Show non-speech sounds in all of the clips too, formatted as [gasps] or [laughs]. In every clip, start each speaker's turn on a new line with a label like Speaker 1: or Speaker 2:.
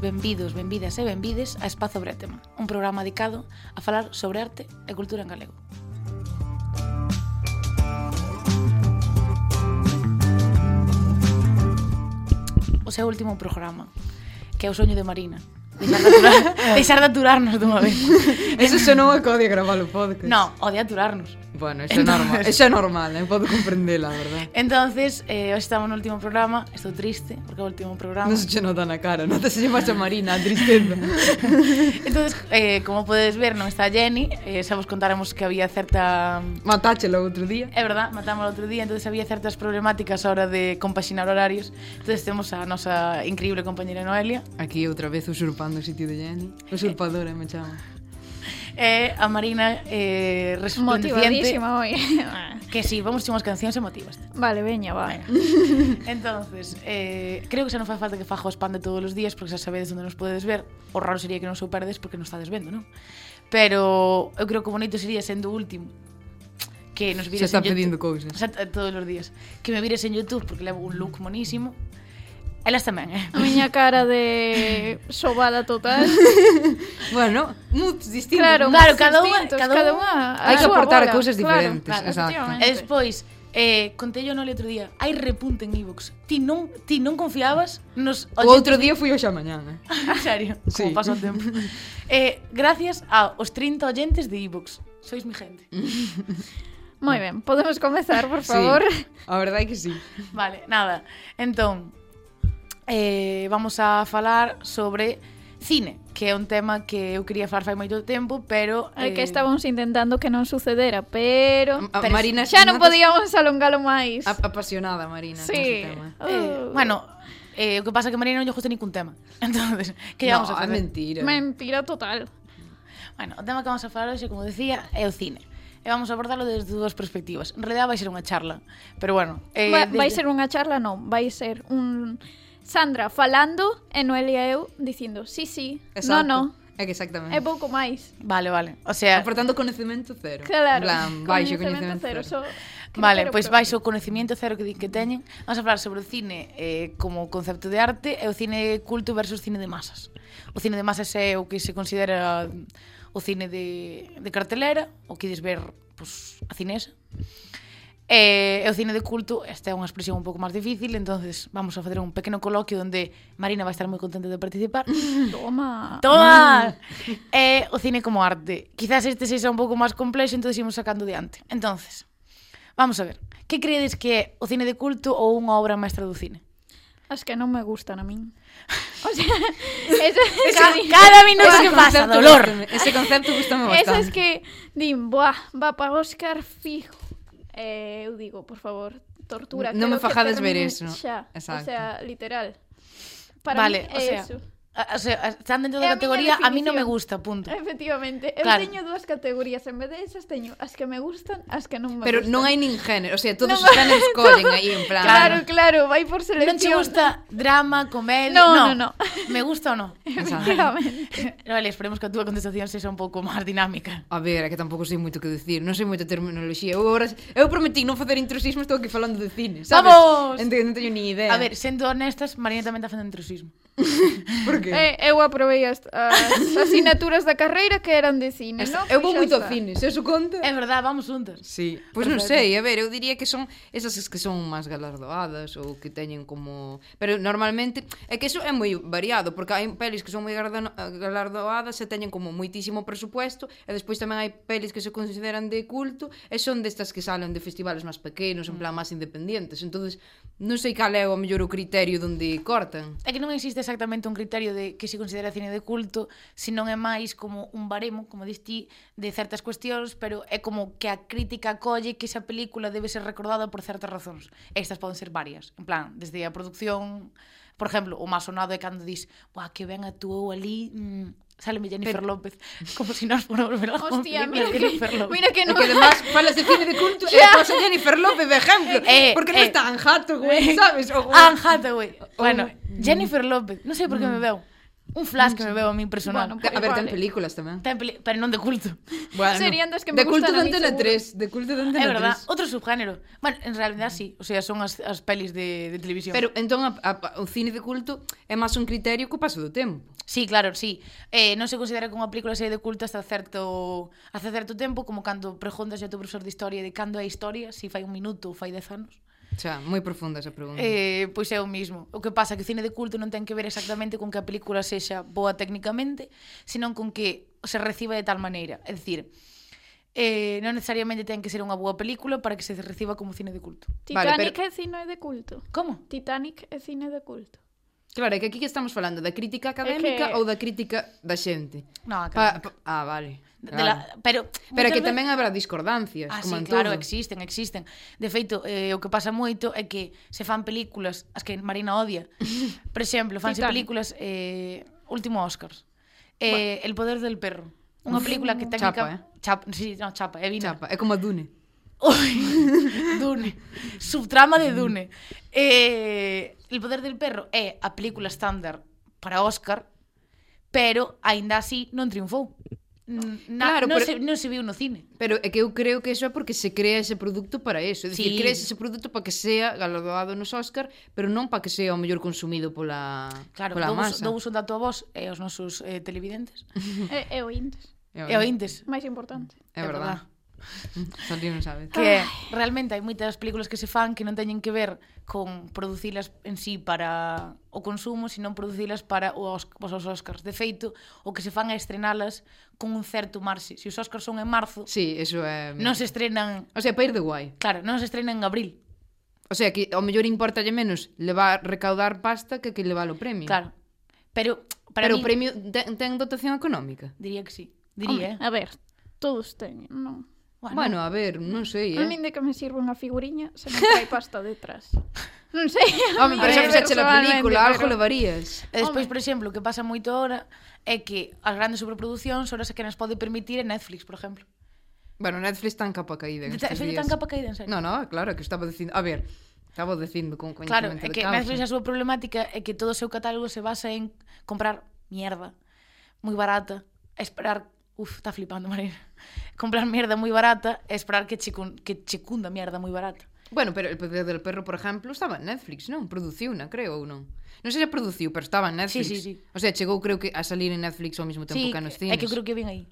Speaker 1: Benvidos, benvidas e benvides a Espazo Bretema, un programa dedicado a falar sobre arte e cultura en galego. O seu último programa, que é o soño de Marina. Deixar de, aturar, deixar de aturarnos dunha vez.
Speaker 2: Eso xa non é code gravar o podcast.
Speaker 1: No, o de aturarnos.
Speaker 2: Bueno, eso é normal, eso é normal, eh? podo comprendela, verdad.
Speaker 1: Entonces, eh, hoxe estamos no último programa, estou triste porque é o último programa.
Speaker 2: Non se che nota na cara, non te se lle pasa a Marina, a tristeza.
Speaker 1: Entonces, eh, como podes ver, non está Jenny, eh, xa vos contaremos que había certa...
Speaker 2: Matáchelo outro día.
Speaker 1: É verdad, matamos o outro día, entonces había certas problemáticas a hora de compaxinar horarios. Entonces temos a nosa increíble compañera Noelia
Speaker 2: Aquí outra vez usurpando o sitio de Jenny. Usurpadora, me chama.
Speaker 1: e
Speaker 3: Eh,
Speaker 1: a Marina eh, resplandeciente.
Speaker 3: Motivadísima hoy.
Speaker 2: [laughs]
Speaker 1: Que si, sí, vamos ter unhas cancións emotivas.
Speaker 3: vale, veña, va.
Speaker 1: Entonces, eh, creo que xa non fai falta que fajo spam de todos os días porque xa sabedes onde nos podedes ver. O raro sería que non sou perdes porque non estades vendo, non? Pero eu creo que o bonito sería sendo o último que nos vires
Speaker 2: Xa está
Speaker 1: en
Speaker 2: pedindo
Speaker 1: YouTube.
Speaker 2: cousas.
Speaker 1: Xa t- todos os días. Que me vires en YouTube porque levo un look monísimo. Elas tamén, eh?
Speaker 3: A miña cara de sobada
Speaker 2: [laughs]
Speaker 3: total.
Speaker 2: Bueno, moods distintos.
Speaker 3: Claro,
Speaker 1: Claro,
Speaker 3: claro
Speaker 1: cada
Speaker 3: cada
Speaker 1: unha-
Speaker 3: unha,
Speaker 1: cada
Speaker 3: cada
Speaker 1: unha-
Speaker 3: unha.
Speaker 2: Hai que aportar cousas diferentes, exacto.
Speaker 1: E despois, eh, contei no outro día, hai repunte en iVoox. Ti non, ti non confiabas nos
Speaker 2: O outro día fui hoxe a mañán, eh?
Speaker 1: En serio,
Speaker 2: Sí.
Speaker 1: como pasa o tempo. Eh, gracias aos 30 oyentes de iVoox. Sois mi gente.
Speaker 3: Moi ben, podemos comezar, por
Speaker 2: Sí,
Speaker 3: favor.
Speaker 2: a verdade é que sí.
Speaker 1: Vale, nada. Entón, eh, vamos a falar sobre cine, que é un tema que eu quería falar fai moito tempo, pero... eh,
Speaker 3: Ai,
Speaker 2: eh,
Speaker 3: que estábamos intentando que non sucedera, pero
Speaker 2: A, a Marina
Speaker 3: xa non
Speaker 2: notas-
Speaker 3: podíamos alongalo máis.
Speaker 2: A- apasionada, Marina, con
Speaker 3: Sí.
Speaker 2: ese tema.
Speaker 1: Eh,
Speaker 3: Uh.
Speaker 1: bueno, eh, o que pasa é que Marina non lle gusta ningún tema. [laughs] Entonces, que no, vamos a
Speaker 2: no, é
Speaker 1: facer?
Speaker 2: mentira.
Speaker 3: Mentira total.
Speaker 1: Bueno, o tema que vamos a falar hoxe, como decía, é o cine. E vamos a abordarlo desde dúas perspectivas. En realidad vai ser unha charla, pero bueno... Eh,
Speaker 3: Va,
Speaker 1: desde-
Speaker 3: vai ser unha charla, non, vai ser un Sandra falando e Noelia e eu dicindo, sí, sí,
Speaker 2: Exacto.
Speaker 3: no, no,
Speaker 2: É que exactamente.
Speaker 3: é pouco máis.
Speaker 1: Vale, vale. O sea,
Speaker 2: Aportando conocemento cero.
Speaker 3: Claro,
Speaker 2: En plan, baixo conocemento
Speaker 3: cero,
Speaker 2: cero.
Speaker 3: só
Speaker 1: Vale,
Speaker 3: criterio
Speaker 1: pois
Speaker 3: propio.
Speaker 1: vais o coñecemento cero que, di que teñen Vamos a falar sobre o cine eh, como concepto de arte E o cine culto versus cine de masas O cine de masas é o que se considera o cine de, de cartelera O que ides ver pues, a cinesa E, e o cine de culto, esta é unha expresión un pouco máis difícil Entonces vamos a facer un pequeno coloquio Onde Marina vai estar moi contenta de participar
Speaker 3: Toma.
Speaker 1: Toma! [laughs] É o cine como arte. Quizás este sexa un pouco máis complexo, entón imos sacando diante. Entonces, vamos a ver. Que credes que é o cine de culto ou unha obra maestra do cine?
Speaker 3: As que non me gustan
Speaker 1: [laughs]
Speaker 3: a min. O sea, eso,
Speaker 1: Ca- cada minuto
Speaker 2: Ese
Speaker 1: que pasa,
Speaker 2: concepto
Speaker 1: dolor.
Speaker 2: gústame, Ese concepto gustame bastante.
Speaker 3: esas que din, buah, va pa Oscar fijo. Eh, eu digo, por favor, tortura.
Speaker 2: Non
Speaker 3: quero
Speaker 2: me
Speaker 3: que
Speaker 2: fajades ver
Speaker 3: termine
Speaker 2: eso.
Speaker 3: Xa.
Speaker 2: Exacto.
Speaker 3: O sea, literal. Para
Speaker 1: Vale, o
Speaker 3: mí é
Speaker 1: sea,
Speaker 3: eso.
Speaker 1: A- O sea, están dentro
Speaker 3: É
Speaker 1: da
Speaker 3: a miña
Speaker 1: categoría, a mí non me gusta,
Speaker 3: definición.
Speaker 1: punto.
Speaker 3: Efectivamente, eu
Speaker 1: Claro.
Speaker 3: teño dúas categorías, en vez de esas teño as que me gustan, as que non me
Speaker 2: Pero
Speaker 3: gustan.
Speaker 2: non hai nin género, o sea, todos
Speaker 3: Non-
Speaker 1: [laughs]
Speaker 2: os géneros collen aí en plan.
Speaker 3: Claro, claro, vai por
Speaker 1: Non
Speaker 3: selección.
Speaker 1: te gusta drama, comedia...
Speaker 3: No,
Speaker 1: no,
Speaker 3: no, no.
Speaker 1: [laughs] Me gusta ou non?
Speaker 3: [laughs] Efectivamente.
Speaker 1: Vale, esperemos que a túa contestación sexa un pouco máis dinámica.
Speaker 2: A ver, é que tampouco sei moito que dicir, non sei moita terminoloxía. Eu agora eu prometí non facer intrusismo, estou aquí falando de cine, sabes?
Speaker 1: Vamos!
Speaker 2: Ente, non teño nin idea.
Speaker 1: A ver, sendo honestas, Marina tamén está facendo intrusismo.
Speaker 2: por que?
Speaker 3: Eh, eu aprobei as,
Speaker 2: [laughs]
Speaker 3: as asignaturas da carreira que eran de cine, non?
Speaker 2: eu vou
Speaker 3: Pois xa
Speaker 2: moito ao
Speaker 3: está.
Speaker 2: cine, se eso conta?
Speaker 1: É verdad, vamos juntas.
Speaker 2: Sí, pois non sei, a ver, eu diría que son esas as que son máis galardoadas ou que teñen como, pero normalmente é que eso é moi variado, porque hai pelis que son moi galardo- galardoadas e teñen como moitísimo presupuesto, e despois tamén hai pelis que se consideran de culto e son destas que salen de festivales máis pequenos, en plan máis independientes. Entonces, non sei cal é o mellor o criterio onde cortan.
Speaker 1: É que non existe exactamente un criterio de que se considera cine de culto, senón é máis como un baremo, como dis ti, de certas cuestións, pero é como que a crítica colle que esa película debe ser recordada por certas razóns. Estas poden ser varias, en plan, desde a producción, por exemplo, o máis sonado é cando dis, "Buah, que ben actuou ali, mm, sáleme Jennifer pero... López", [laughs] como se si nós formos ver
Speaker 2: [laughs]
Speaker 1: algo
Speaker 3: Hostia,
Speaker 1: película
Speaker 3: mira
Speaker 1: de
Speaker 3: que,
Speaker 1: Jennifer López.
Speaker 3: mira que
Speaker 2: E
Speaker 3: non.
Speaker 2: que además falas de cine de [laughs] culto e pasa Jennifer López de ejemplo,
Speaker 1: Eh,
Speaker 2: porque non
Speaker 1: eh.
Speaker 2: está [laughs] Anne Hathaway, sabes? O, o-
Speaker 3: Oh,
Speaker 1: Anne Hathaway.
Speaker 2: O-
Speaker 3: mm.
Speaker 1: Bueno, Jennifer López, non sei por que me veu. un flash que me veo a mí personal.
Speaker 3: Bueno,
Speaker 1: Bueno,
Speaker 3: pero
Speaker 2: A ver, ten
Speaker 3: vale.
Speaker 2: películas tamén.
Speaker 1: ten peli- pero non de culto.
Speaker 2: Bueno,
Speaker 3: Serían das que me
Speaker 2: de culto
Speaker 3: gustan a
Speaker 2: de
Speaker 3: mí,
Speaker 2: Antena
Speaker 3: seguro.
Speaker 2: 3, de culto de Antena
Speaker 1: É
Speaker 2: 3.
Speaker 1: verdad, outro subgénero. Bueno, en realidad sí, o sea, son as, as pelis de, de televisión.
Speaker 2: Pero entón a, a, o cine de culto é máis un criterio co paso do tempo.
Speaker 1: Sí, claro, sí. Eh, non se considera como unha película serie de culto hasta certo hasta certo tempo, como cando preguntas ao teu profesor de historia de cando é a historia, se fai un minuto ou fai dez anos.
Speaker 2: O sea, moi profunda esa pregunta.
Speaker 1: Eh, pois é o mismo. O que pasa é que o cine de culto non ten que ver exactamente con que a película sexa boa técnicamente, senón con que se reciba de tal maneira. É dicir, eh, non necesariamente ten que ser unha boa película para que se reciba como cine de culto.
Speaker 2: Vale,
Speaker 3: Titanic
Speaker 2: pero-
Speaker 3: é cine de culto.
Speaker 1: Como?
Speaker 3: Titanic é cine de
Speaker 2: [laughs]
Speaker 3: culto.
Speaker 2: Claro, é que aquí que estamos falando da crítica académica
Speaker 3: que-
Speaker 2: ou da crítica da xente.
Speaker 1: Non,
Speaker 2: Pa,
Speaker 1: académica.
Speaker 2: pa, ah, vale.
Speaker 1: De la, pero
Speaker 2: Pero
Speaker 1: moitas
Speaker 2: que
Speaker 1: veces-
Speaker 2: tamén habrá discordancias,
Speaker 1: Ah,
Speaker 2: como
Speaker 1: sí,
Speaker 2: en
Speaker 1: claro,
Speaker 2: todo.
Speaker 1: existen, existen. De feito, eh, o que pasa moito é que se fan películas, as que Marina
Speaker 2: [laughs]
Speaker 1: odia. Por exemplo, fanse
Speaker 3: Titanic.
Speaker 1: películas eh, último Oscars. Eh, El poder del perro. Unha película
Speaker 2: [laughs]
Speaker 1: que técnica
Speaker 2: Chapa, eh?
Speaker 1: Chapa, sí, no, chapa, é vina. [laughs]
Speaker 2: Chapa, é como a Dune.
Speaker 1: Ui, Dune. Subtrama de Dune. Eh, El poder del perro é a película estándar para Oscar, pero aínda así non triunfou. N- Na,
Speaker 2: Claro,
Speaker 1: non,
Speaker 2: pero-
Speaker 1: se, non se viu no cine.
Speaker 2: Pero é que eu creo que eso é porque se crea ese produto para eso. É
Speaker 1: Sí.
Speaker 2: dicir, crees ese produto para que sea galardoado nos Oscar, pero non para que sea o mellor consumido pola,
Speaker 1: Claro,
Speaker 2: pola
Speaker 1: dous,
Speaker 2: masa.
Speaker 1: dous un dato a vos e aos nosos eh, televidentes.
Speaker 3: É, é o Indes.
Speaker 1: E ointes.
Speaker 3: Mais importante.
Speaker 2: É verdad. Santi non sabe.
Speaker 1: Que realmente hai moitas películas que se fan que non teñen que ver con producilas en sí para o consumo, senón producilas para o os, os Oscars. De feito, o que se fan é estrenalas con un certo marxe. Se os Oscars son en marzo,
Speaker 2: Sí, eso é... mm.
Speaker 1: non se estrenan...
Speaker 2: O sea, para ir de guai.
Speaker 1: Claro, non se estrenan en abril.
Speaker 2: O sea, que ao mellor importalle menos levar recaudar pasta que que levar o premio.
Speaker 1: Claro. Pero, para
Speaker 2: Pero
Speaker 1: mí,
Speaker 2: o premio ten, ten dotación económica.
Speaker 1: diría que sí. Diría, eh.
Speaker 3: A ver, todos teñen, non?
Speaker 1: Bueno,
Speaker 2: ah, Bueno, a ver, non sei,
Speaker 3: A
Speaker 2: eh.
Speaker 3: min de que me sirve unha figuriña se non trae pasta detrás. Non sei. a
Speaker 2: Home,
Speaker 3: min
Speaker 2: pero xa fixache la
Speaker 3: personalmente,
Speaker 2: película, algo
Speaker 3: pero-
Speaker 2: levarías.
Speaker 1: E despois, por exemplo, o que pasa moito ahora é que as grandes superproducións ahora se que nas pode permitir en Netflix, por exemplo.
Speaker 2: Bueno, Netflix tan capa caída en
Speaker 1: De ta-
Speaker 2: estes
Speaker 1: Soy de
Speaker 2: días.
Speaker 1: tan capa caída, en serio.
Speaker 2: No, no, claro, que estaba dicindo... A ver, estaba dicindo con
Speaker 1: Claro,
Speaker 2: coñecemento
Speaker 1: é
Speaker 2: de
Speaker 1: que
Speaker 2: causa.
Speaker 1: Netflix a súa problemática é que todo o seu catálogo se basa en comprar mierda moi barata, e esperar, uf, está flipando, Marina. [laughs] Comprar mierda moi barata e esperar que che cun- que che cunda mierda moi barata.
Speaker 2: Bueno, pero El poder del perro, por exemplo, estaba en Netflix, non? Produciu na, creo, ou non? Non sei se produciu, pero estaba en Netflix.
Speaker 1: Sí, sí, sí.
Speaker 2: O sea, chegou, creo que, a salir en Netflix ao mesmo tempo que nos cines.
Speaker 1: é que eu creo que ven aí.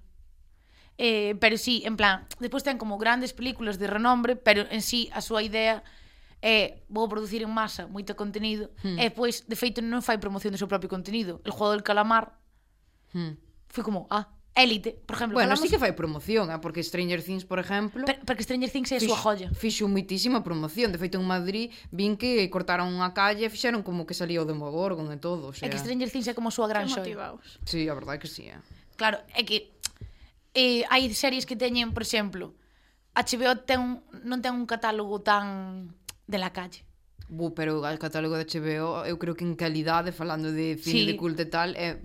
Speaker 1: Eh, pero sí, en plan, despois ten como grandes películas de renombre, pero en sí a súa idea é vou producir en masa moito contenido
Speaker 2: Hmm.
Speaker 1: hmm. e pois, de feito, non fai promoción do seu propio contenido. El juego del calamar
Speaker 2: Hmm.
Speaker 1: foi como, ah, élite, por exemplo,
Speaker 2: Bueno,
Speaker 1: falamos,
Speaker 2: sí que fai promoción, ah, porque Stranger Things, por exemplo...
Speaker 1: per, porque Stranger Things é a súa
Speaker 2: fixo-
Speaker 1: joya.
Speaker 2: Fixo moitísima promoción. De feito, en Madrid vin que cortaron unha calle e fixeron como que salía o Demogorgon e todo. O
Speaker 1: É
Speaker 2: sea,
Speaker 1: que Stranger Things é como a súa gran
Speaker 3: Que
Speaker 1: xoia.
Speaker 3: motivaos.
Speaker 2: Sí, a verdade que sí. Eh.
Speaker 1: Claro, é que eh, hai series que teñen, por exemplo, HBO ten un, non ten un catálogo tan de la calle.
Speaker 2: Bu, pero o catálogo de HBO, eu creo que en calidade, falando de cine
Speaker 1: Sí.
Speaker 2: de culto e tal, é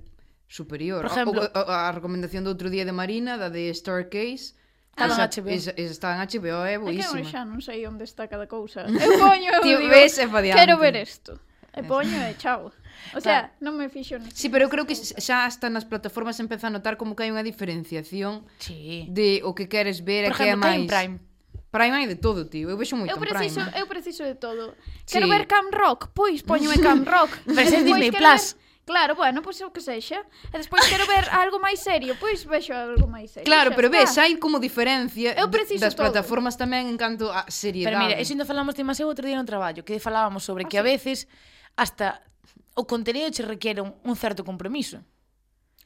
Speaker 2: superior.
Speaker 1: Por exemplo-
Speaker 2: O- o- a, a recomendación do outro día de Marina, da de Starcase,
Speaker 1: Estaba en
Speaker 2: esa-
Speaker 1: HBO.
Speaker 2: Esa, esa está en HBO, é
Speaker 3: É que eu
Speaker 2: boísima.
Speaker 3: xa non sei onde está cada
Speaker 2: [laughs]
Speaker 3: cousa. Eu poño, eu
Speaker 2: Ti
Speaker 3: digo,
Speaker 2: ves e pa diante.
Speaker 3: quero ver isto. E poño e chao. O sea, non me fixo nisto.
Speaker 2: Sí, pero eu creo que xa hasta nas plataformas empeza a notar como que hai unha diferenciación
Speaker 1: Sí.
Speaker 2: de o que queres ver
Speaker 1: Por
Speaker 2: e que é
Speaker 1: exemplo, ten
Speaker 2: máis...
Speaker 1: Prime.
Speaker 2: Prime hai de todo, tío. Eu vexo moito
Speaker 3: Eu
Speaker 2: en
Speaker 3: preciso,
Speaker 2: Prime. eh.
Speaker 3: eu preciso de todo.
Speaker 2: Sí.
Speaker 3: Quero ver Cam Rock, pois poño
Speaker 2: [laughs]
Speaker 3: Cam Rock.
Speaker 1: Pero ese é
Speaker 3: Despois
Speaker 1: Disney
Speaker 3: quero
Speaker 1: Plus.
Speaker 3: ver- Claro, bueno, pois o que sexa. E despois quero ver algo máis serio, pois vexo algo máis serio.
Speaker 2: Claro,
Speaker 3: xa
Speaker 2: pero
Speaker 3: está.
Speaker 2: ves, hai como diferencia
Speaker 3: Eu preciso
Speaker 2: das
Speaker 3: todo.
Speaker 2: plataformas tamén en canto a seriedade.
Speaker 1: Pero mira, eso ainda falamos de Maseu outro día no traballo, que falábamos sobre
Speaker 3: Ah,
Speaker 1: que a veces hasta o contenido che requiere un, un certo compromiso.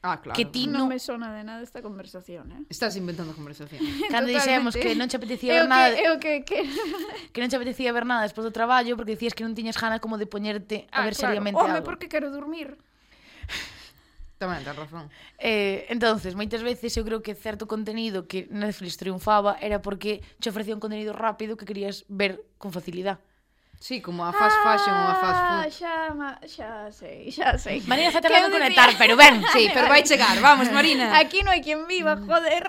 Speaker 2: Ah, claro.
Speaker 1: Que ti non...
Speaker 3: Non me sona de nada esta conversación, eh.
Speaker 2: Estás inventando conversación.
Speaker 1: Cando dixemos
Speaker 3: Totalmente.
Speaker 1: que non che apetecía ver
Speaker 3: Eu
Speaker 1: nada,
Speaker 3: que, eu que, que...
Speaker 2: [laughs]
Speaker 1: que non che apetecía ver nada despois do traballo porque dicías que non tiñas gana como de poñerte a
Speaker 3: Ah,
Speaker 1: ver
Speaker 3: claro.
Speaker 1: seriamente
Speaker 3: Home,
Speaker 1: algo.
Speaker 3: porque quero dormir.
Speaker 2: Tamén tens razón.
Speaker 1: Eh, entonces, moitas veces eu creo que certo contenido que Netflix triunfaba era porque che ofrecía un contenido rápido que querías ver con facilidad.
Speaker 2: Sí, como a fast fashion ou a fast
Speaker 3: Ah,
Speaker 2: food.
Speaker 3: xa, ma- xa sei, xa sei.
Speaker 1: Marina está
Speaker 3: Que
Speaker 1: tardando
Speaker 3: eu
Speaker 1: en
Speaker 3: dicía-
Speaker 1: conectar, pero ben.
Speaker 2: Sí, pero vai chegar.
Speaker 1: [laughs]
Speaker 2: Vamos, Marina.
Speaker 3: [laughs] Aquí non hai quen viva,
Speaker 2: Mm. [laughs]
Speaker 3: joder.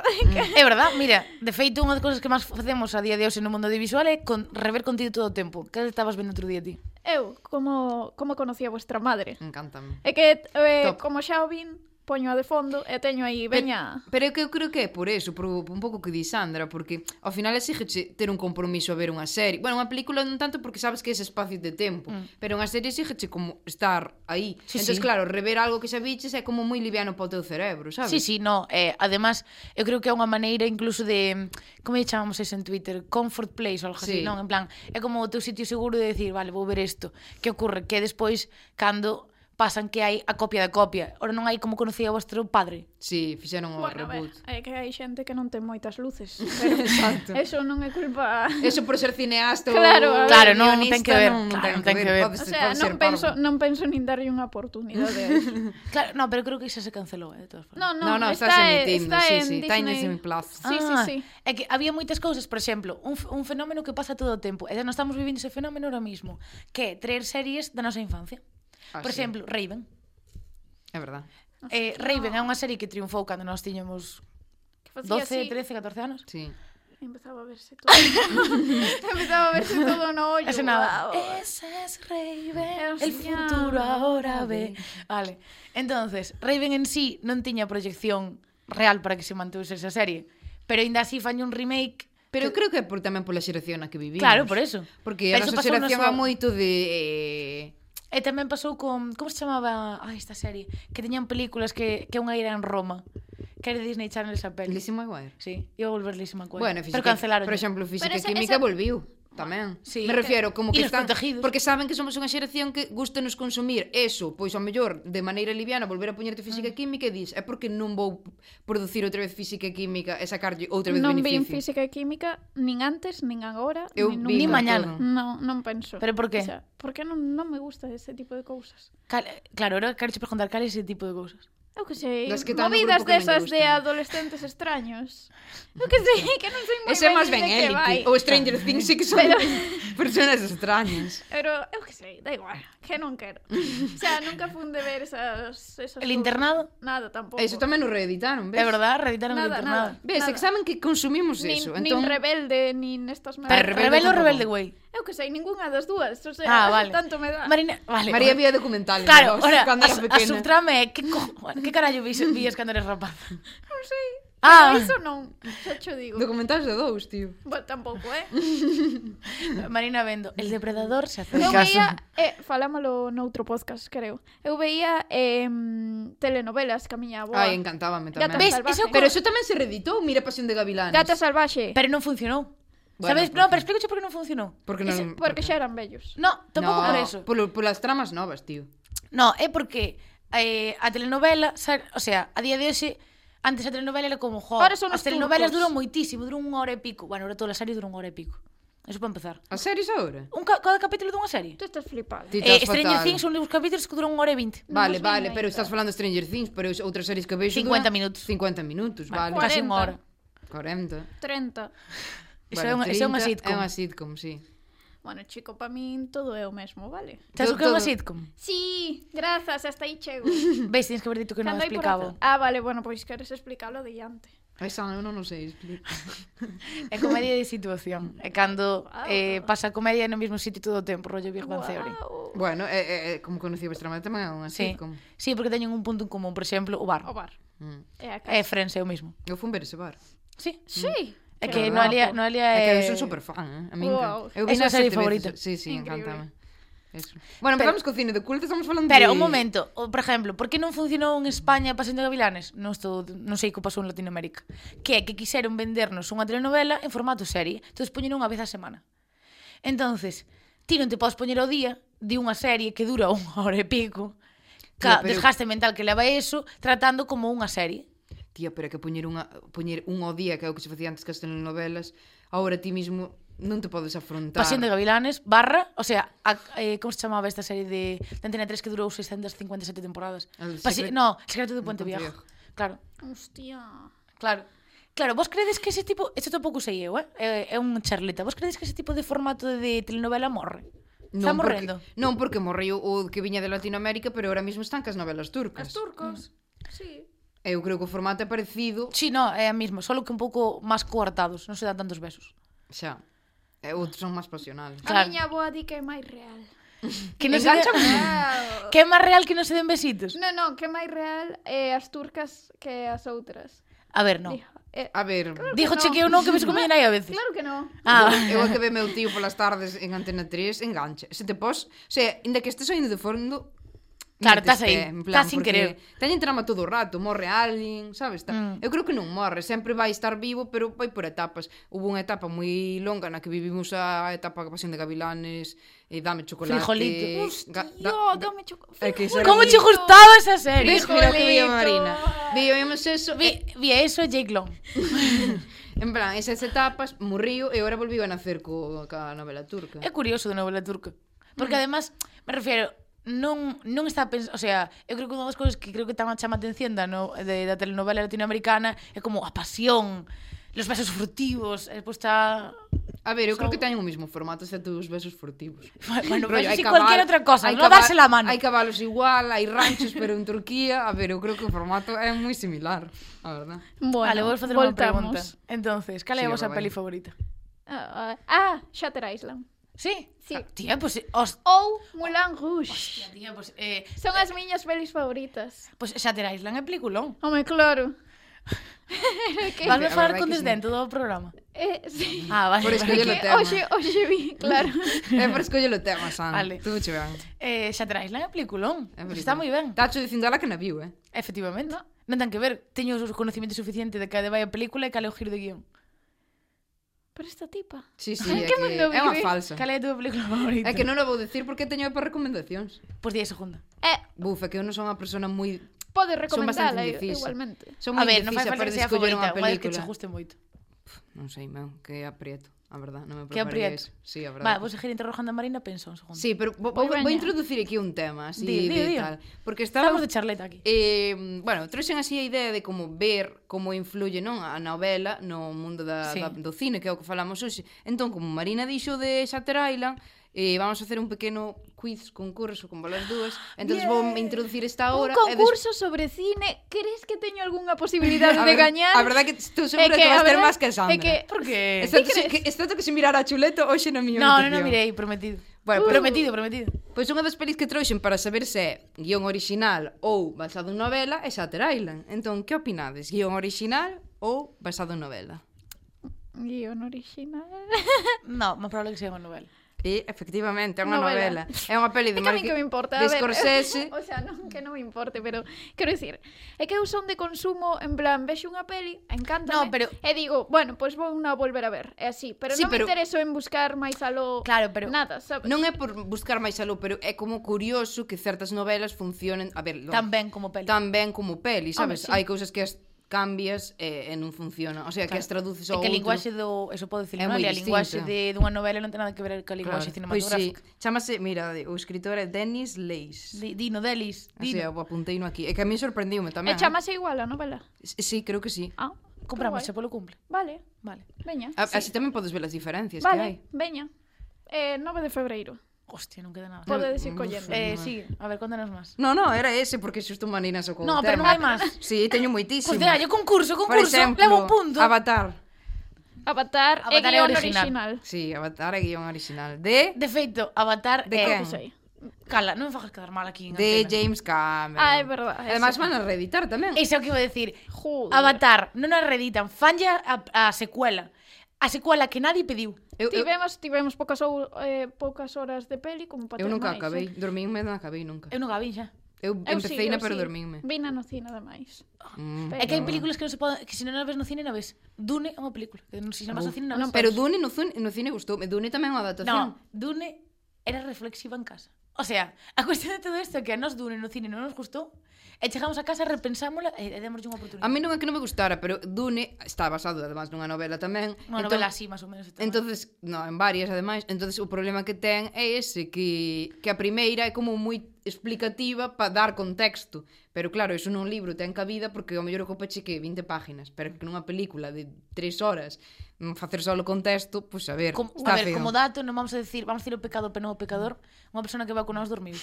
Speaker 1: É verdad, mira, de feito unha das cousas que máis facemos a día de hoxe no mundo audiovisual é con rever contido todo o tempo. Que estabas vendo outro día ti?
Speaker 3: eu como como conocí a vuestra madre.
Speaker 2: Encántame.
Speaker 3: É que
Speaker 2: Mm.
Speaker 3: eh,
Speaker 2: Top.
Speaker 3: como xa o vin, poño a de fondo e teño aí, veña.
Speaker 2: Pero é que eu creo que é por eso, por un pouco que di Sandra, porque ao final exigeche ter un compromiso a ver unha serie. Bueno, unha película non tanto porque sabes que é ese espacio de tempo, mm. pero unha serie exigeche como estar aí.
Speaker 1: Sí,
Speaker 2: Sí, Entón,
Speaker 1: sí.
Speaker 2: sí. claro, rever algo que xa viches é como moi liviano para o teu cerebro, sabes?
Speaker 1: Sí, sí, no, eh, además eu creo que é unha maneira incluso de como lle chamamos eso en Twitter, comfort place ou algo así,
Speaker 2: Sí.
Speaker 1: non, en plan, é como o teu sitio seguro de decir, vale, vou ver isto. Que ocorre que despois cando pasan que hai a copia da copia, ora non hai como conocía o vostro padre.
Speaker 2: Sí, fixeron o
Speaker 3: Bueno, a
Speaker 2: Oh,
Speaker 3: ver,
Speaker 2: reboot.
Speaker 3: é que hai xente que non ten
Speaker 2: [laughs]
Speaker 3: moitas luces, pero
Speaker 1: [laughs]
Speaker 2: Exacto.
Speaker 3: eso non é
Speaker 2: [laughs]
Speaker 3: culpa
Speaker 2: Eso por ser cineasta
Speaker 3: Claro,
Speaker 2: ou
Speaker 1: Claro, non ten
Speaker 2: guionista,
Speaker 1: que ver,
Speaker 2: non, non
Speaker 1: claro,
Speaker 2: ten que ver. Pode
Speaker 3: O
Speaker 2: ser-
Speaker 3: sea,
Speaker 2: pode ser
Speaker 3: non penso,
Speaker 2: parvo.
Speaker 3: non penso nin darlle unha oportunidade a
Speaker 2: [laughs]
Speaker 3: iso.
Speaker 1: Claro, no, pero creo que xa se cancelou, eh, de todas formas.
Speaker 3: No, no,
Speaker 2: No, no,
Speaker 3: está,
Speaker 2: estás
Speaker 3: eh,
Speaker 2: emitindo,
Speaker 3: está
Speaker 2: sí,
Speaker 3: en
Speaker 2: sí, está en
Speaker 3: Disney.
Speaker 2: Disney Plus.
Speaker 3: Sí, sí,
Speaker 1: Ah,
Speaker 3: sí.
Speaker 1: É que había moitas cousas, por exemplo, un, f- un fenómeno que pasa todo o tempo. E nós estamos vivindo ese fenómeno ahora mismo, que é traer series da nosa infancia.
Speaker 2: Ah,
Speaker 1: por
Speaker 2: sí.
Speaker 1: exemplo, Raven.
Speaker 2: É verdad.
Speaker 3: Ah,
Speaker 1: Eh, Raven é unha serie que triunfou cando nós tiñamos
Speaker 3: Que facía
Speaker 1: 12,
Speaker 3: Pois
Speaker 1: 13,
Speaker 3: así,
Speaker 1: 14 anos.
Speaker 2: Sí.
Speaker 3: Empezaba a verse todo.
Speaker 2: [laughs]
Speaker 3: empezaba a verse todo no ollo.
Speaker 1: Ese nada.
Speaker 3: guau.
Speaker 1: Esa es Raven,
Speaker 3: El
Speaker 1: el
Speaker 3: señor.
Speaker 1: futuro ahora ve. Vale. Entonces, Raven en sí non tiña proyección real para que se mantuese esa serie, pero aínda así fañe un remake.
Speaker 2: Pero eu creo que é por, tamén pola xeración na que vivimos.
Speaker 1: Claro, por eso.
Speaker 2: Porque
Speaker 1: Pero
Speaker 2: a
Speaker 1: eso
Speaker 2: nosa
Speaker 1: pasou na
Speaker 2: xeración
Speaker 1: súa-
Speaker 2: é moito de... Eh,
Speaker 1: E tamén pasou con, como se chamaba, ai, esta serie, que teñan películas que que unha era en Roma, que era de Disney Channel esa peli.
Speaker 2: eh, Lizzie McGuire.
Speaker 1: Sí, iba a volver Lizzie McGuire.
Speaker 2: Bueno,
Speaker 1: pero
Speaker 2: física,
Speaker 1: cancelaron.
Speaker 2: Por exemplo, física
Speaker 3: Pero esa-
Speaker 2: química
Speaker 3: esa-
Speaker 2: volviu tamén.
Speaker 1: Sí.
Speaker 2: Me refiero
Speaker 1: E
Speaker 2: como que
Speaker 1: los
Speaker 2: están
Speaker 1: protegidos.
Speaker 2: porque saben que somos unha xeración que gustanos consumir eso, pois ao mellor de maneira liviana volver a poñerte física e química e dis, é porque non vou producir outra vez física e química e sacarlle outra vez
Speaker 3: Non vin
Speaker 2: beneficio.
Speaker 3: física e química nin antes, nin agora,
Speaker 2: Eu
Speaker 3: nin
Speaker 2: vi
Speaker 1: Ni
Speaker 3: nunca.
Speaker 1: mañana.
Speaker 2: todo.
Speaker 3: Non, non penso.
Speaker 1: Pero por qué?
Speaker 3: O sea, porque non, non me gusta ese tipo de cousas.
Speaker 1: Cal, claro, ahora quero che preguntar cal é ese tipo de cousas.
Speaker 3: Eu que sei,
Speaker 2: Das que tá no
Speaker 3: movidas
Speaker 2: grupo que non lle
Speaker 3: desas de
Speaker 2: gustan.
Speaker 3: adolescentes extraños. Eu que sei, que non sei moi
Speaker 2: Ese é máis
Speaker 3: ben
Speaker 2: ben
Speaker 3: de que vai.
Speaker 2: Elite ou Stranger Things sí que son [laughs] personas extrañas.
Speaker 3: Pero eu que sei, da igual, que non quero. O sea, nunca fun de ver esas... esas
Speaker 1: El
Speaker 3: cousas.
Speaker 1: internado?
Speaker 3: Nada, tampouco.
Speaker 2: Eso tamén o reeditaron, ves?
Speaker 1: É verdad, reeditaron el
Speaker 3: Nada,
Speaker 1: internado.
Speaker 3: nada.
Speaker 2: Ves, examen que consumimos
Speaker 3: nin,
Speaker 2: eso.
Speaker 3: nin
Speaker 2: Entón,
Speaker 3: rebelde, nin estas
Speaker 1: Pero
Speaker 2: Rebelde
Speaker 1: rebelde, rebelde,
Speaker 2: tampouco.
Speaker 1: rebelde güey.
Speaker 3: Eu que sei, ningunha das dúas. O sea,
Speaker 1: Ah, vale.
Speaker 3: tanto me dá.
Speaker 1: Marina, vale.
Speaker 2: María
Speaker 1: vale.
Speaker 2: vía documental.
Speaker 1: Claro,
Speaker 2: ¿no?
Speaker 1: ora,
Speaker 2: Cando
Speaker 1: a,
Speaker 2: era
Speaker 1: su- a
Speaker 2: pequena.
Speaker 1: subtrama é que, co... que carallo vis, vías cando eres
Speaker 3: [laughs]
Speaker 1: rapaz.
Speaker 3: Non sei.
Speaker 1: Ah.
Speaker 3: Ah. Iso non. Xa cho digo.
Speaker 2: Documentais de dous, tío.
Speaker 3: Bo, tampouco, eh?
Speaker 1: Marina Vendo, el depredador se
Speaker 3: Eu
Speaker 1: acerca.
Speaker 3: veía, eh, falámoslo noutro podcast, creo. Eu veía eh, telenovelas que a miña aboa.
Speaker 2: Ai, encantábame tamén.
Speaker 3: Gata
Speaker 1: Ves,
Speaker 3: salvaje.
Speaker 1: iso co-
Speaker 2: Pero eso tamén se reeditou, mira Pasión de Gavilanes.
Speaker 3: Gata salvaxe.
Speaker 1: Pero non funcionou.
Speaker 2: Bueno,
Speaker 1: Sabes?
Speaker 2: porque-
Speaker 1: No, pero explícoche por que non funcionou.
Speaker 2: Porque non...
Speaker 3: Ese- Porque xa eran bellos.
Speaker 1: No, tampouco
Speaker 2: no,
Speaker 1: por eso.
Speaker 2: Polo, polas tramas novas, tío.
Speaker 1: No, é porque eh, a telenovela, sa- o sea, a día de hoxe, antes a telenovela era como, jo,
Speaker 3: Ahora son
Speaker 1: as
Speaker 3: os
Speaker 1: telenovelas
Speaker 3: turcos.
Speaker 1: duran moitísimo, duran unha hora e pico. Bueno, ahora todas as series duran unha hora e pico. Eso para empezar.
Speaker 2: As series agora?
Speaker 1: Un ca cada capítulo dunha serie.
Speaker 3: Tú estás flipada.
Speaker 2: Ti
Speaker 1: Eh,
Speaker 2: estás
Speaker 1: Stranger
Speaker 2: fatal.
Speaker 1: Things son os capítulos que duran unha hora e vinte.
Speaker 2: Vale,
Speaker 3: Non os vi
Speaker 2: vale,
Speaker 3: ainda.
Speaker 2: pero estás falando de Stranger Things, pero es- outras series que vexo
Speaker 1: 50
Speaker 2: duran
Speaker 1: minutos.
Speaker 2: 50 minutos, vale.
Speaker 3: Cuarenta.
Speaker 1: Casi unha hora.
Speaker 2: 40.
Speaker 3: 30.
Speaker 1: Iso é unha, iso é unha sitcom.
Speaker 2: 30, É unha sitcom, sí.
Speaker 3: Bueno, chico, pa min todo é o mesmo, vale?
Speaker 1: Sabes o que é unha
Speaker 2: Todo-
Speaker 1: sitcom?
Speaker 3: Sí, grazas, hasta aí [laughs] chego.
Speaker 1: Veis, tens que haber dito que non
Speaker 3: Cando hai por
Speaker 1: explicaba.
Speaker 3: azar. Ah, vale, bueno, pois queres explicalo diante.
Speaker 2: Esa eu non o sei explica.
Speaker 1: É comedia de situación. É cando
Speaker 3: Wow.
Speaker 1: eh, pasa comedia no mesmo sitio todo o tempo, rollo Big Bang Theory.
Speaker 3: Guau.
Speaker 2: [laughs] Bueno, é, é, é, como conocí vuestra madre tamén é unha
Speaker 1: Sí.
Speaker 2: sitcom.
Speaker 1: sí, porque teñen un punto en común, por exemplo, o bar.
Speaker 3: O bar. Eh,
Speaker 2: Mm.
Speaker 3: É a
Speaker 1: É
Speaker 3: casa.
Speaker 1: Friends, é o mesmo.
Speaker 2: Eu fui ver ese bar.
Speaker 1: Sí.
Speaker 3: Sí.
Speaker 1: É que
Speaker 3: Qué
Speaker 2: guapo.
Speaker 1: Noelia, Noelia
Speaker 2: É que
Speaker 1: é...
Speaker 2: eu son super fan, eh? A min
Speaker 3: Wow.
Speaker 2: Eu
Speaker 1: É a súa
Speaker 2: nas
Speaker 1: serie
Speaker 2: sete
Speaker 1: favorita.
Speaker 2: Veces. Sí, sí, encántame.
Speaker 3: Increíble.
Speaker 2: Eso. Bueno, empezamos co cine de culto, estamos falando de...
Speaker 1: Pero, un momento, o, por exemplo, por que non funcionou en España Pasión de Gavilanes? Non, estou, non sei que pasou en Latinoamérica. Que é que quixeron vendernos unha telenovela en formato serie, entón poñeron unha vez a semana. Entonces, ti non te podes poñer o día de unha serie que dura unha hora e pico, ca,
Speaker 2: Tía, pero-
Speaker 1: desgaste mental que leva eso, tratando como unha serie.
Speaker 2: Tía, pero é que poñer, unha, poñer un ao día, que é o que se facía antes que as telenovelas, agora ti mismo non te podes afrontar.
Speaker 1: Pasión de Gavilanes, barra, o sea, a, eh, como se chamaba esta serie de, de Antena 3 que durou 657 temporadas?
Speaker 2: El
Speaker 1: Pasi
Speaker 2: secre-
Speaker 1: no, El Secreto do Puente
Speaker 2: Puente
Speaker 1: Viejo.
Speaker 2: Viejo.
Speaker 1: Claro,
Speaker 3: Hostia.
Speaker 1: claro. Claro, vos credes que ese tipo, isto tampouco sei eu, eh? É, é un charleta. Vos credes que ese tipo de formato de telenovela morre? Está
Speaker 2: porque,
Speaker 1: morrendo.
Speaker 2: non porque morreu o que viña de Latinoamérica, pero ahora mismo están cas novelas turcas.
Speaker 3: As turcos. Sí.
Speaker 2: Eu creo que o formato é parecido,
Speaker 1: Sí, no, é a mesma, solo que un pouco máis coartados, non se dan tantos besos.
Speaker 2: xa. E outros son máis pasionales.
Speaker 1: Claro.
Speaker 3: A miña aboa di que é máis real.
Speaker 1: Que non se de... [laughs] Que é máis real que non se den besitos?
Speaker 3: No, no, que máis real é as turcas que as outras.
Speaker 1: A ver, non.
Speaker 3: Dija- eh,
Speaker 2: A ver,
Speaker 1: Dijo che
Speaker 3: no.
Speaker 1: que eu non que ves con miña nai a veces.
Speaker 3: claro que non.
Speaker 1: Ah,
Speaker 2: eu a que ve meu tío polas tardes en Antena 3, enganche. Se te pos, o sea, inda que estes saindo de fondo,
Speaker 1: Claro,
Speaker 2: metes
Speaker 1: estás aí,
Speaker 2: pé, en plan,
Speaker 1: estás sin
Speaker 2: porque
Speaker 1: querer.
Speaker 2: Teñen trama todo o rato, morre alguén, sabes? Tá? Mm. Eu creo que non morre, sempre vai estar vivo, pero vai por etapas. Hubo unha etapa moi longa na que vivimos a etapa que pasión de gavilanes, e dame chocolate.
Speaker 1: Frijolito.
Speaker 2: Eh, ga-
Speaker 3: Hostia,
Speaker 2: da-
Speaker 3: dame choco-
Speaker 2: É que
Speaker 3: frijolito.
Speaker 1: como che gustaba esa serie?
Speaker 2: Ves, mira o que vi a
Speaker 3: Frijolito.
Speaker 2: Marina. Víamos eso,
Speaker 1: Vi,
Speaker 2: e-
Speaker 1: vi a eso e Jake Long.
Speaker 2: en plan, esas etapas, morriu e agora volviu a nacer co, ca novela turca.
Speaker 1: É curioso de novela turca. Porque
Speaker 2: Mm.
Speaker 1: además, me refiero, non, non está pensado, o sea, eu creo que unha das cousas que creo que tamén chama a atención da, no, de, da telenovela latinoamericana é como a pasión, los besos furtivos, e pois está... [laughs]
Speaker 2: A ver, eu creo
Speaker 1: Son-
Speaker 2: que teñen o mismo formato, excepto os besos furtivos.
Speaker 1: Bueno,
Speaker 2: Rollo,
Speaker 1: pero
Speaker 2: hai
Speaker 1: si
Speaker 2: cabal-
Speaker 1: cualquier outra cosa,
Speaker 2: hai
Speaker 1: non
Speaker 2: cabal-
Speaker 1: darse la mano.
Speaker 2: Hai cabalos igual, hai ranchos, pero en Turquía, a ver, eu creo que o formato é moi similar, a verdad.
Speaker 3: Bueno,
Speaker 1: vale, vou facer unha pregunta. Entonces, cal é a
Speaker 2: Siga,
Speaker 1: vosa
Speaker 2: Rubén.
Speaker 1: peli favorita?
Speaker 3: Ah, ah, Shutter Island.
Speaker 1: Sí?
Speaker 3: Sí.
Speaker 1: Ah, tía, pois... Pues, os...
Speaker 3: Ou Moulin Rouge.
Speaker 1: Tía, tía, pois... Pues, eh,
Speaker 3: Son as miñas pelis favoritas.
Speaker 1: pois pues Shutter Island é peliculón.
Speaker 3: Home, claro. Que-
Speaker 1: Vas a
Speaker 2: A
Speaker 1: falar
Speaker 2: verdad
Speaker 1: con
Speaker 2: que sí.
Speaker 1: desdén todo o programa.
Speaker 3: Eh,
Speaker 2: [laughs]
Speaker 3: sí.
Speaker 1: Ah, vale.
Speaker 2: Por
Speaker 1: vale.
Speaker 2: escoller o
Speaker 3: Que
Speaker 2: tema.
Speaker 3: hoxe, hoxe vi,
Speaker 2: [laughs]
Speaker 3: claro.
Speaker 2: É para escoller o tema, San.
Speaker 1: Vale.
Speaker 2: Vale. Tú che ben.
Speaker 1: Eh, Shutter Island é peliculón.
Speaker 2: É
Speaker 1: Está moi ben.
Speaker 2: Tacho dicindo ela que na viu, eh?
Speaker 1: Efectivamente. No. Non ten que ver, teño os conocimientos suficiente de que de vai a película e cal é o giro de guión.
Speaker 3: Pero esta tipa.
Speaker 2: Sí, sí,
Speaker 3: Ai,
Speaker 2: é
Speaker 3: que
Speaker 2: que
Speaker 3: mundo
Speaker 2: é unha
Speaker 3: vive.
Speaker 2: falsa.
Speaker 1: Cal é a túa película [laughs] favorita?
Speaker 2: É que non o vou decir porque teño para recomendacións.
Speaker 1: Pois di a segunda.
Speaker 3: Eh,
Speaker 2: Buf, é que eu non son unha persona moi...
Speaker 3: pode
Speaker 2: bastante
Speaker 3: recomendala i-
Speaker 2: indecisa.
Speaker 3: igualmente.
Speaker 2: Son
Speaker 1: a
Speaker 2: moi
Speaker 1: ver, non fai
Speaker 2: indecisa
Speaker 1: falta
Speaker 2: para
Speaker 1: que sea a
Speaker 2: escoller
Speaker 1: favorita,
Speaker 2: unha
Speaker 1: igual é que che
Speaker 2: película.
Speaker 1: guste moito.
Speaker 2: Non sei, meu, que aprieto, a verdad, non me
Speaker 1: Que
Speaker 2: preparei a
Speaker 1: aprieto.
Speaker 2: eso. Sí, a
Speaker 1: Va,
Speaker 2: verdade.
Speaker 1: vou seguir interrogando a Marina, penso un segundo.
Speaker 2: Sí, pero vou,
Speaker 3: Voy
Speaker 2: vou, vou
Speaker 3: baña.
Speaker 2: introducir aquí un tema, así
Speaker 1: Di, di,
Speaker 2: de
Speaker 1: di.
Speaker 2: tal, porque estaba
Speaker 1: Estamos de charleta
Speaker 2: [laughs]
Speaker 1: aquí.
Speaker 2: eh, bueno, trouxen así a idea de como ver como influye non a novela no mundo da,
Speaker 1: Sí.
Speaker 2: sí. da, do cine, que é o que falamos hoxe. Entón, como Marina dixo de Shutter Island, eh, vamos a hacer un pequeno quiz, concurso con valas dúas. Entón, vou introducir esta
Speaker 3: Un
Speaker 2: hora.
Speaker 3: concurso sobre cine, crees que teño algunha posibilidade
Speaker 2: [laughs] a
Speaker 3: de
Speaker 2: ver-
Speaker 3: gañar?
Speaker 2: A verdad que estou segura
Speaker 3: É
Speaker 2: que, que vas
Speaker 3: a
Speaker 2: ter
Speaker 3: verdad
Speaker 2: máis que a Sandra.
Speaker 3: É que...
Speaker 1: Por que?
Speaker 2: Está que, está que se mirar a chuleto hoxe na miña
Speaker 1: No, non, non
Speaker 2: habitación.
Speaker 1: mirei, prometido. Uh.
Speaker 2: Bueno, pois-
Speaker 1: Prometido, prometido.
Speaker 2: Pois unha das pelis que trouxen para saber se é guión original ou basado en novela é Shutter Island. Entón, que opinades? Guión original ou basado en novela?
Speaker 3: Guión original.
Speaker 1: No, máis probable que sea unha novela.
Speaker 2: E, efectivamente, é unha
Speaker 3: Novela.
Speaker 2: novela. É unha peli de
Speaker 3: É que a mí
Speaker 2: Martin
Speaker 3: que me importa, a
Speaker 2: de
Speaker 3: ver.
Speaker 2: Scorsese.
Speaker 3: [laughs] o sea, non que non me importe, pero quero dicir, é que eu son de consumo, en plan, vexo unha peli, encántame,
Speaker 1: No, pero-
Speaker 3: e digo, bueno, pois vou na volver a ver, é así, pero
Speaker 2: Sí,
Speaker 3: non
Speaker 2: pero-
Speaker 3: me intereso en buscar máis aló
Speaker 1: Claro, pero-
Speaker 3: nada, sabes?
Speaker 2: Non é por buscar máis aló, pero é como curioso que certas novelas funcionen, a ver, lo-
Speaker 1: Tan ben como peli.
Speaker 2: tan ben como peli, sabes?
Speaker 3: Home, sí.
Speaker 2: Hai cousas que as cambias e, e non funciona, o sea, que as traduces
Speaker 1: É
Speaker 2: ao
Speaker 1: que a
Speaker 2: outro.
Speaker 1: linguaxe do... Eso pode decir,
Speaker 2: É
Speaker 1: non?
Speaker 2: moi
Speaker 1: A linguaxe de
Speaker 2: distinta.
Speaker 1: dunha novela non ten nada que ver coa linguaxe cinematográfica.
Speaker 2: Pois sí, chamase, mira, o escritor é Dennis Leis.
Speaker 1: Di- Dino, Delis,
Speaker 2: Pois Así,
Speaker 1: Dino.
Speaker 2: eu apunteino aquí. É que a mí sorprendeume
Speaker 3: E
Speaker 2: tamén.
Speaker 3: chamase igual a novela.
Speaker 2: eh. Sí, creo que sí.
Speaker 3: Ah,
Speaker 1: Compramos xa
Speaker 3: que
Speaker 1: polo
Speaker 3: guai.
Speaker 1: cumple.
Speaker 3: Vale,
Speaker 1: Vale.
Speaker 3: veña.
Speaker 2: A, sí. Así tamén podes ver as diferencias Ah, que hai.
Speaker 3: Vale, veña. Eh, 9 de febreiro.
Speaker 1: Hostia, non queda nada.
Speaker 3: Podedes ir collendo.
Speaker 1: Eh, sí, a ver, contanos máis.
Speaker 2: No, no, era ese, porque xusto Marina sacou
Speaker 1: No,
Speaker 2: o
Speaker 1: pero
Speaker 2: tema.
Speaker 1: non hai máis.
Speaker 2: Sí, teño moitísimo.
Speaker 1: Pois dai, concurso,
Speaker 2: Por
Speaker 1: concurso,
Speaker 2: exemplo,
Speaker 1: levo un punto.
Speaker 2: Avatar.
Speaker 3: Avatar,
Speaker 1: Avatar é
Speaker 3: é guión
Speaker 1: original.
Speaker 3: original.
Speaker 2: Sí, Avatar é guión original. De...
Speaker 1: De feito, Avatar
Speaker 2: De
Speaker 1: é...
Speaker 2: quen?
Speaker 3: Pois aí.
Speaker 1: Cala, non me fajas quedar mal aquí en
Speaker 2: De
Speaker 1: antena.
Speaker 2: James Cameron.
Speaker 3: Ah, é verdad, ese.
Speaker 2: Además van a reeditar tamén.
Speaker 1: Iso é o que iba a decir.
Speaker 3: Joder.
Speaker 1: Avatar, non a reeditan, fanlle a, a secuela. A secuela que nadie pediu.
Speaker 2: Eu, eu,
Speaker 3: Tivemos, tivemos poucas, hou- eh, poucas horas de peli como para
Speaker 2: eu
Speaker 3: ter
Speaker 2: nunca
Speaker 3: máis,
Speaker 2: acabei.
Speaker 3: eh.
Speaker 2: Dormínme, non acabei nunca.
Speaker 1: Eu non a vin xa.
Speaker 2: Eu,
Speaker 3: Eu
Speaker 2: empecé
Speaker 3: sí,
Speaker 2: na,
Speaker 3: eu
Speaker 2: pero
Speaker 3: sí.
Speaker 2: dormínme.
Speaker 3: Vina no cine, ademais.
Speaker 2: Mm.
Speaker 1: É que hai películas que non se poden, que se non a ves no cine, non a ves. Dune é unha película, que non se chama no cine, non a ves.
Speaker 2: Pero Dune no, cine- no cine gustou. Dune tamén é unha
Speaker 1: No,
Speaker 2: adaptación.
Speaker 1: Dune era reflexiva en casa. O sea, a cuestión de todo isto é que a nos Dune no cine non nos gustou, e chegamos a casa, repensámola e, e démoslle unha oportunidade.
Speaker 2: A mí non é que non me gustara, pero Dune está basado además nunha novela tamén.
Speaker 1: Unha
Speaker 2: entón-
Speaker 1: novela así, máis ou menos. e tal.
Speaker 2: Entonces, no, en varias ademais, entonces o problema que ten é ese que que a primeira é como moi explicativa para dar contexto, pero claro, iso nun libro ten cabida porque ao mellor ocupa que 20 páginas, pero que nunha película de 3 horas mm, facer solo contexto, pois pues, a ver,
Speaker 1: Como, a
Speaker 2: está
Speaker 1: ver,
Speaker 2: feo.
Speaker 1: como dato, non vamos a decir, vamos a decir o pecador, pero non o pecador, unha persona que vacunados dormiu.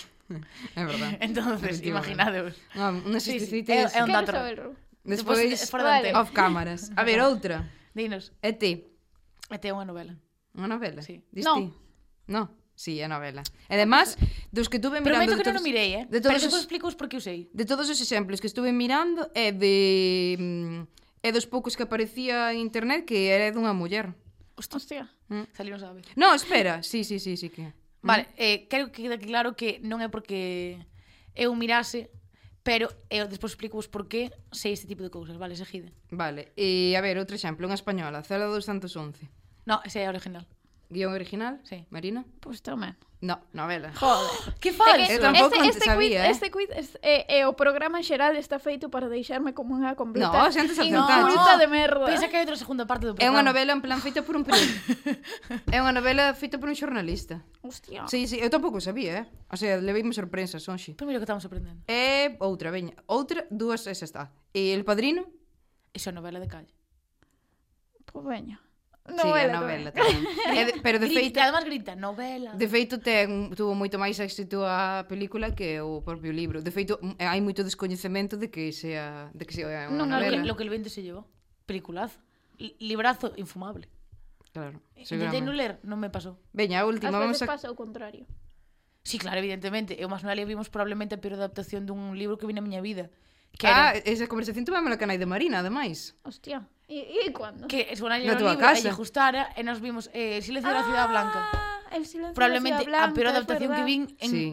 Speaker 1: [laughs]
Speaker 2: É verdad. Ah,
Speaker 1: Entonces,
Speaker 2: Efectivamente.
Speaker 1: imaginadevos.
Speaker 2: No, unha
Speaker 1: Sí, sí,
Speaker 2: xusticites.
Speaker 1: é- é un
Speaker 3: Quero
Speaker 1: dato.
Speaker 3: saberlo.
Speaker 2: Despois
Speaker 1: Despois, eh, fora da
Speaker 3: vale.
Speaker 1: antena.
Speaker 2: off cámaras. A
Speaker 1: [laughs]
Speaker 2: ver, outra.
Speaker 1: Dinos,
Speaker 2: É ti.
Speaker 1: este é unha novela.
Speaker 2: Unha novela?
Speaker 1: Sí.
Speaker 2: Dis
Speaker 3: No.
Speaker 2: ti? No. Sí, é novela. E además, dos que tuve mirando...
Speaker 1: Prometo que
Speaker 2: de
Speaker 1: non o
Speaker 2: todos-
Speaker 1: mirei, eh?
Speaker 2: De
Speaker 1: Pero
Speaker 2: todos,
Speaker 1: depois
Speaker 2: os,
Speaker 1: explico os por que o sei.
Speaker 2: de todos os exemplos que estuve mirando é de... mm, É dos poucos que aparecía en internet que era dunha muller.
Speaker 3: Hostia.
Speaker 1: Salimos a ver. [laughs]
Speaker 2: No, espera. Sí, sí, sí, sí que.
Speaker 1: Vale, eh, quero que quede claro que non é porque eu mirase, pero eu despois explico vos por que sei este tipo de cousas, vale, seguide.
Speaker 2: Vale. E a ver, outro exemplo, unha española, Cela 211.
Speaker 1: No, ese é original.
Speaker 2: Guión original?
Speaker 1: Sí.
Speaker 2: Marina?
Speaker 3: Pois tamén.
Speaker 2: No, novela.
Speaker 1: Joder, [gasps] que
Speaker 3: É
Speaker 1: falso.
Speaker 3: que
Speaker 2: Eu tampouco
Speaker 3: este, este
Speaker 2: sabía,
Speaker 3: quiz,
Speaker 2: eh.
Speaker 3: este quiz es- é, é, o programa en xeral está feito para deixarme como unha completa
Speaker 2: No, xa antes acertaste.
Speaker 3: inculta de merda.
Speaker 1: Pensa que hai outra segunda parte do
Speaker 2: É
Speaker 1: programa.
Speaker 2: unha novela en plan feita por un periódico.
Speaker 1: [laughs]
Speaker 2: é unha novela feita por un xornalista.
Speaker 1: Ah.
Speaker 3: Hostia.
Speaker 2: Sí, sí, eu tampouco sabía, eh? O sea, leveime sorpresas, onxe.
Speaker 1: Primeiro que estamos aprendendo.
Speaker 2: E outra, veña. Outra, dúas, esa está. E El Padrino?
Speaker 1: Iso é novela de calle.
Speaker 3: Pois veña.
Speaker 2: sí, a novela tamén. E de, pero de feito,
Speaker 1: Grita, además grita, novela.
Speaker 2: De feito, ten, tuvo moito máis éxito a película que o propio libro. De feito, m- hai moito descoñecemento de que sea, de que sea unha
Speaker 3: Non,
Speaker 1: Lo que,
Speaker 2: novela.
Speaker 1: lo que el vento se llevou. Peliculazo. Li- Librazo infumable.
Speaker 2: Claro,
Speaker 1: Intentei non ler,
Speaker 2: seguramente.
Speaker 1: non me pasou.
Speaker 2: Veña, a última,
Speaker 3: As
Speaker 2: vamos
Speaker 3: veces
Speaker 2: a...
Speaker 3: pasa o contrario.
Speaker 1: Sí, claro, evidentemente. Eu máis Noelia vimos probablemente a peor adaptación dun libro que vi na miña vida. Que
Speaker 2: Ah,
Speaker 1: era,
Speaker 2: esa conversación tuvámosla canai de Marina, ademais.
Speaker 3: Hostia. E, e cando?
Speaker 1: que es unha
Speaker 2: Na
Speaker 1: libro e
Speaker 2: túa casa.
Speaker 1: lle gustara e nos vimos eh, Silencio da Ciudad Blanca.
Speaker 3: Ah, el silencio
Speaker 1: Probablemente a
Speaker 3: da Ciudad
Speaker 1: peor
Speaker 3: Blanca,
Speaker 1: adaptación
Speaker 3: es
Speaker 1: que
Speaker 3: verdad.
Speaker 1: vin en...
Speaker 2: En... Sí.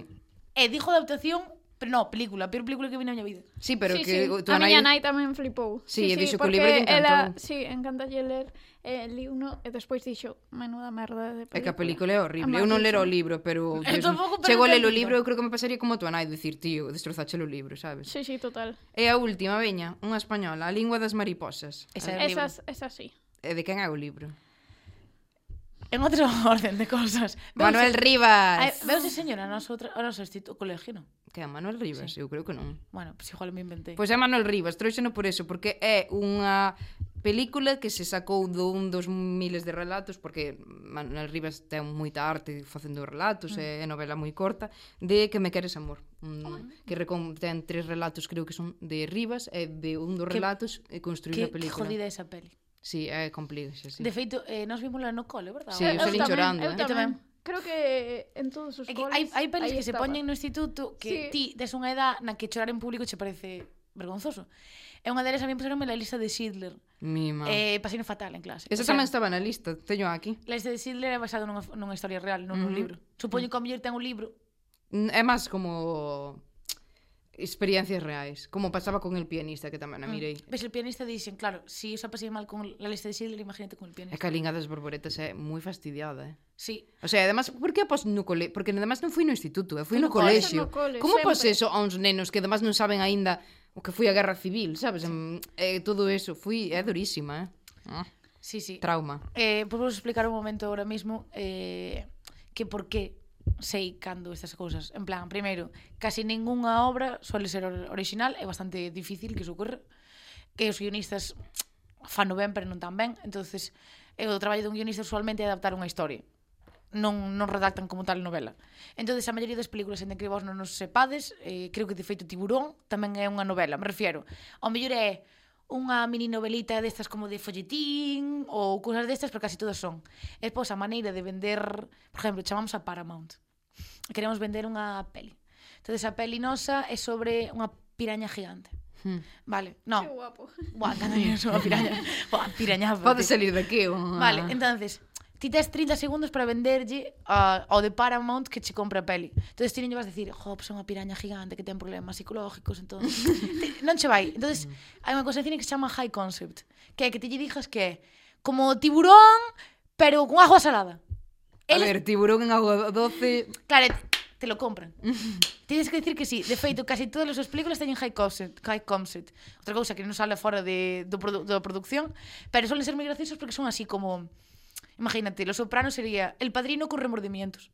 Speaker 1: Eh, dijo adaptación, pero no, película. A peor película que vi na miña vida.
Speaker 2: Sí, pero
Speaker 3: sí,
Speaker 2: que
Speaker 3: sí.
Speaker 2: o
Speaker 3: A miña nai tamén flipou.
Speaker 2: Sí, e dixo que o
Speaker 3: porque
Speaker 2: libro lle
Speaker 3: Ela,
Speaker 2: encantou.
Speaker 3: sí, encanta lle ler eh, li uno e despois dixo, menuda merda de película.
Speaker 2: É que a película é horrible. Eu non lero o libro, pero... Dios,
Speaker 1: tampouco, pero
Speaker 2: chego a ler o
Speaker 1: entendino.
Speaker 2: libro, eu creo que me pasaría como a tua nai, dicir, tío, destrozache o libro, sabes?
Speaker 3: Sí, sí, total.
Speaker 2: E a última, veña, unha española, A lingua das mariposas.
Speaker 1: Esa é horrible.
Speaker 3: Esas, esas sí.
Speaker 2: E de quen é o libro?
Speaker 1: En outro [laughs] orden de cosas.
Speaker 2: Manuel Rivas.
Speaker 1: Veus diseño na nosa outra, ao noso instituto colegio, non?
Speaker 2: Que é Manuel Rivas, eu creo que non.
Speaker 1: Bueno, pois pues igual me inventei.
Speaker 2: Pois é Manuel Rivas, tróixeno por eso, porque é unha película que se sacou dun dos miles de relatos, porque Manuel Rivas ten moita arte facendo relatos, mm. é novela moi corta, de Que me queres amor, un, que recon, ten tres relatos, creo que son de Rivas, e de un dos
Speaker 1: Que-
Speaker 2: relatos é
Speaker 1: que,
Speaker 2: construir a
Speaker 1: que
Speaker 2: película.
Speaker 1: jodida esa peli.
Speaker 2: Sí, é complexa,
Speaker 1: Sí.
Speaker 2: sí.
Speaker 1: De feito, eh, nós vimosla no cole, verdad?
Speaker 2: Sí,
Speaker 1: Eh,
Speaker 2: eu salín
Speaker 3: tamén,
Speaker 2: chorando, eh.
Speaker 3: Eu
Speaker 1: Eu tamén.
Speaker 3: tamén. Creo que en todos os
Speaker 1: é que
Speaker 3: coles...
Speaker 1: hai, hai pelis
Speaker 3: aí
Speaker 1: que se
Speaker 3: estaba.
Speaker 1: poñen no instituto que sí.
Speaker 3: Sí.
Speaker 1: ti tes unha edad na que chorar en público che parece vergonzoso. É unha delas a mí puseronme la lista de Schindler.
Speaker 2: Mima.
Speaker 1: Eh,
Speaker 2: Eh,
Speaker 1: pasino fatal en clase. O
Speaker 2: Esa
Speaker 1: sea,
Speaker 2: tamén estaba na lista, teño aquí.
Speaker 1: La lista de Schindler é basada nunha, nunha historia real, non nun
Speaker 2: Ujú.
Speaker 1: libro. Supoño que a mellor ten un libro.
Speaker 2: Mm, É máis como experiencias reais, como pasaba con el pianista que tamén a
Speaker 1: Ah.
Speaker 2: mirei.
Speaker 1: Ves, el pianista dixen, claro, si os ha pasado mal con la lista de Schindler, imagínate con el
Speaker 2: É
Speaker 1: pianista.
Speaker 2: que a liña das borboletas é moi fastidiada, eh?
Speaker 1: Sí,
Speaker 2: O sea, además, por que após no cole? Porque además non fui no instituto, eh? fui
Speaker 1: Fui
Speaker 2: no,
Speaker 1: no cole.
Speaker 2: colexio.
Speaker 3: Fui no cole,
Speaker 2: Como pos
Speaker 3: sempre.
Speaker 2: eso a uns nenos que además non saben aínda o que foi a guerra civil, sabes? Em, Eh, todo eso, fui, é durísima, eh? Ah,
Speaker 1: sí, sí.
Speaker 2: trauma.
Speaker 1: Eh, pois vos explicar un momento ahora mismo eh, que por qué sei cando estas cousas. En plan, primeiro, casi ningunha obra suele ser or- original, é bastante difícil que iso ocorra, que os guionistas fano ben, pero non tan ben, entonces eh, o traballo dun guionista usualmente é adaptar unha historia non, non redactan como tal novela. Entonces a maioría das películas en que vos non nos sepades, eh, creo que de feito Tiburón tamén é unha novela, me refiero. Ao mellor é unha mini novelita destas como de folletín ou cousas destas, pero casi todas son. E pois a maneira de vender, por exemplo, chamamos a Paramount. Queremos vender unha peli. Entonces a peli nosa é sobre unha piraña gigante.
Speaker 2: Hmm.
Speaker 1: Vale,
Speaker 3: Que
Speaker 1: non.
Speaker 3: guapo.
Speaker 1: Buah, tamén é unha piraña. Buah, piraña.
Speaker 2: Pode salir daqui, o...
Speaker 1: Vale, entonces, ti tes 30 segundos para venderlle a, ao de Paramount que che compra a peli. Entonces ti non lle vas a decir, jo, pues é unha piraña gigante que ten problemas psicológicos, entón... Te- non che vai. Entonces, hai unha cosa de cine que se chama high concept, que é que ti lle dijas que é como tiburón, pero con agua salada.
Speaker 2: A
Speaker 1: Eles-
Speaker 2: ver, tiburón en agua doce...
Speaker 1: Claro, e te- te lo compran. [laughs] Tienes que decir que sí. De feito, casi todas as súas películas teñen high concept, high concept. Outra cousa que non sale fora de, do, produ da producción, pero suelen ser moi graciosos porque son así como... Imagínate, Los Sopranos sería El Padrino con remordimientos.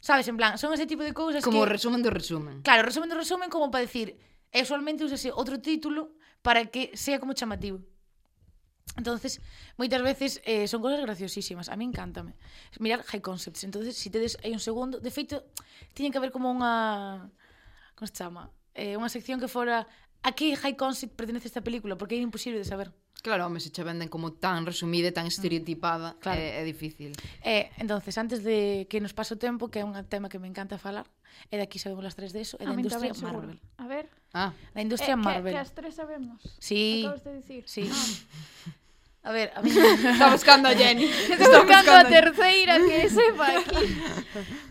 Speaker 1: Sabes, en plan, son ese tipo de cousas
Speaker 2: Como o
Speaker 1: que...
Speaker 2: resumen do resumen.
Speaker 1: Claro, resumen do resumen como para decir... E usualmente úsase outro título para que sea como chamativo. Entonces, moitas veces eh, son cosas graciosísimas. A mí encántame. Mirar high concepts. Entonces, si tedes aí un segundo... De feito, tiña que haber como unha... Como se chama? Eh, unha sección que fora... A que high concept pertenece esta película? Porque é imposible de saber.
Speaker 2: Claro, home, se che venden como tan resumida e tan estereotipada,
Speaker 1: Mm.
Speaker 2: eh,
Speaker 1: Claro.
Speaker 2: é, é difícil.
Speaker 1: E, Eh, entonces, antes de que nos pase o tempo, que é un tema que me encanta falar, e daqui sabemos las tres de eso, é da
Speaker 3: A min
Speaker 1: industria
Speaker 3: tamén, seguro.
Speaker 1: Marvel.
Speaker 3: A ver.
Speaker 1: [laughs]
Speaker 2: Ah,
Speaker 1: Da industria
Speaker 3: eh, que-
Speaker 1: Marvel.
Speaker 3: Que, as tres sabemos.
Speaker 1: Sí.
Speaker 3: Acabas de decir.
Speaker 1: Sí.
Speaker 3: Ah,
Speaker 1: A ver, a mí,
Speaker 2: está
Speaker 3: [laughs]
Speaker 2: buscando a [laughs] Jenny.
Speaker 3: Estou buscando a terceira que sepa
Speaker 1: [laughs]
Speaker 3: aquí.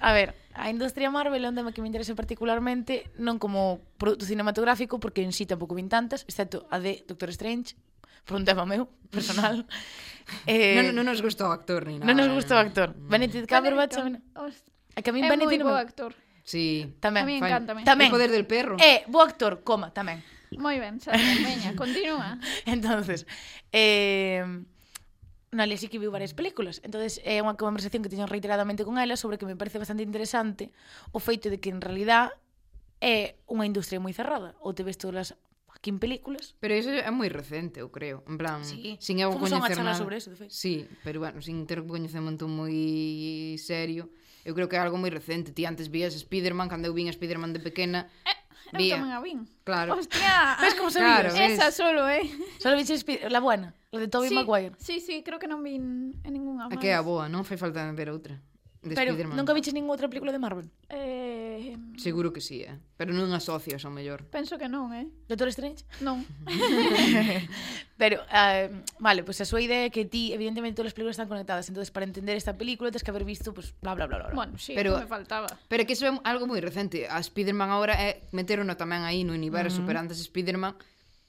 Speaker 1: a ver, a industria Marvel é un tema que me interesa particularmente, non como produto cinematográfico, porque en sí tampouco vin tantas, excepto a de Doctor Strange, por un tema meu,
Speaker 3: [laughs]
Speaker 1: personal. eh,
Speaker 2: Non, non nos gustou o actor ni nada. eh. Mm.
Speaker 1: non nos gusta o actor. Benedict Cumberbatch, a min-
Speaker 3: Os-
Speaker 1: é que a min
Speaker 3: É moi
Speaker 1: Benedict
Speaker 3: bo
Speaker 1: non-
Speaker 3: actor.
Speaker 2: Sí.
Speaker 1: tamén.
Speaker 3: A min
Speaker 2: fai-
Speaker 3: encántame.
Speaker 1: Tamén. Eh.
Speaker 2: O poder del perro.
Speaker 1: É, bo actor, coma, tamén.
Speaker 3: Moi ben, xa. Veña, continúa.
Speaker 1: [laughs] Entonces, eh, no, Alia sí que viu varias películas. Entonces, é unha conversación que teño reiteradamente con ela sobre que me parece bastante interesante o feito de que en realidad é unha industria moi cerrada. Ou te ves todas as fucking películas.
Speaker 2: Pero iso é moi recente, eu creo. En plan, sin eu
Speaker 1: Fomos a unha
Speaker 2: coñecer
Speaker 1: charla
Speaker 2: nada.
Speaker 1: sobre eso, de feito.
Speaker 2: Sí, pero bueno, sin ter un coñecemento moi serio. Eu creo que é algo moi recente. Ti antes vías Spiderman, cando eu vin a Spiderman de pequena,
Speaker 1: Eh,
Speaker 3: Eu
Speaker 2: vía.
Speaker 3: tamén a vin.
Speaker 2: Claro. [laughs]
Speaker 3: Hostia.
Speaker 1: Ves como sabías?
Speaker 2: Ah, Claro, ves.
Speaker 3: Esa solo, eh.
Speaker 1: Solo viste Spi- la buena, la de Tobey
Speaker 3: sí,
Speaker 1: Maguire.
Speaker 3: Sí, sí, creo que non vin en ningunha
Speaker 2: A
Speaker 3: máis.
Speaker 2: que é a boa, non fai falta ver outra. De
Speaker 1: Pero
Speaker 2: Spiderman.
Speaker 1: nunca viches ningunha outra película de Marvel.
Speaker 3: Eh,
Speaker 2: Seguro que sí, eh. Pero non asocias ao mellor.
Speaker 3: penso que non, eh.
Speaker 1: Doctor Strange?
Speaker 2: [laughs]
Speaker 3: Non.
Speaker 1: Pero, eh, vale, pues a súa idea é que ti, evidentemente, todas as películas están conectadas. Entonces, para entender esta película, tens que haber visto, pues, bla, bla, bla, bla. bla.
Speaker 3: bueno, sí,
Speaker 2: Pero-
Speaker 3: pero... me faltaba.
Speaker 2: Pero é que iso é algo moi recente. A Spiderman agora é meterono tamén aí no universo, pero antes Spiderman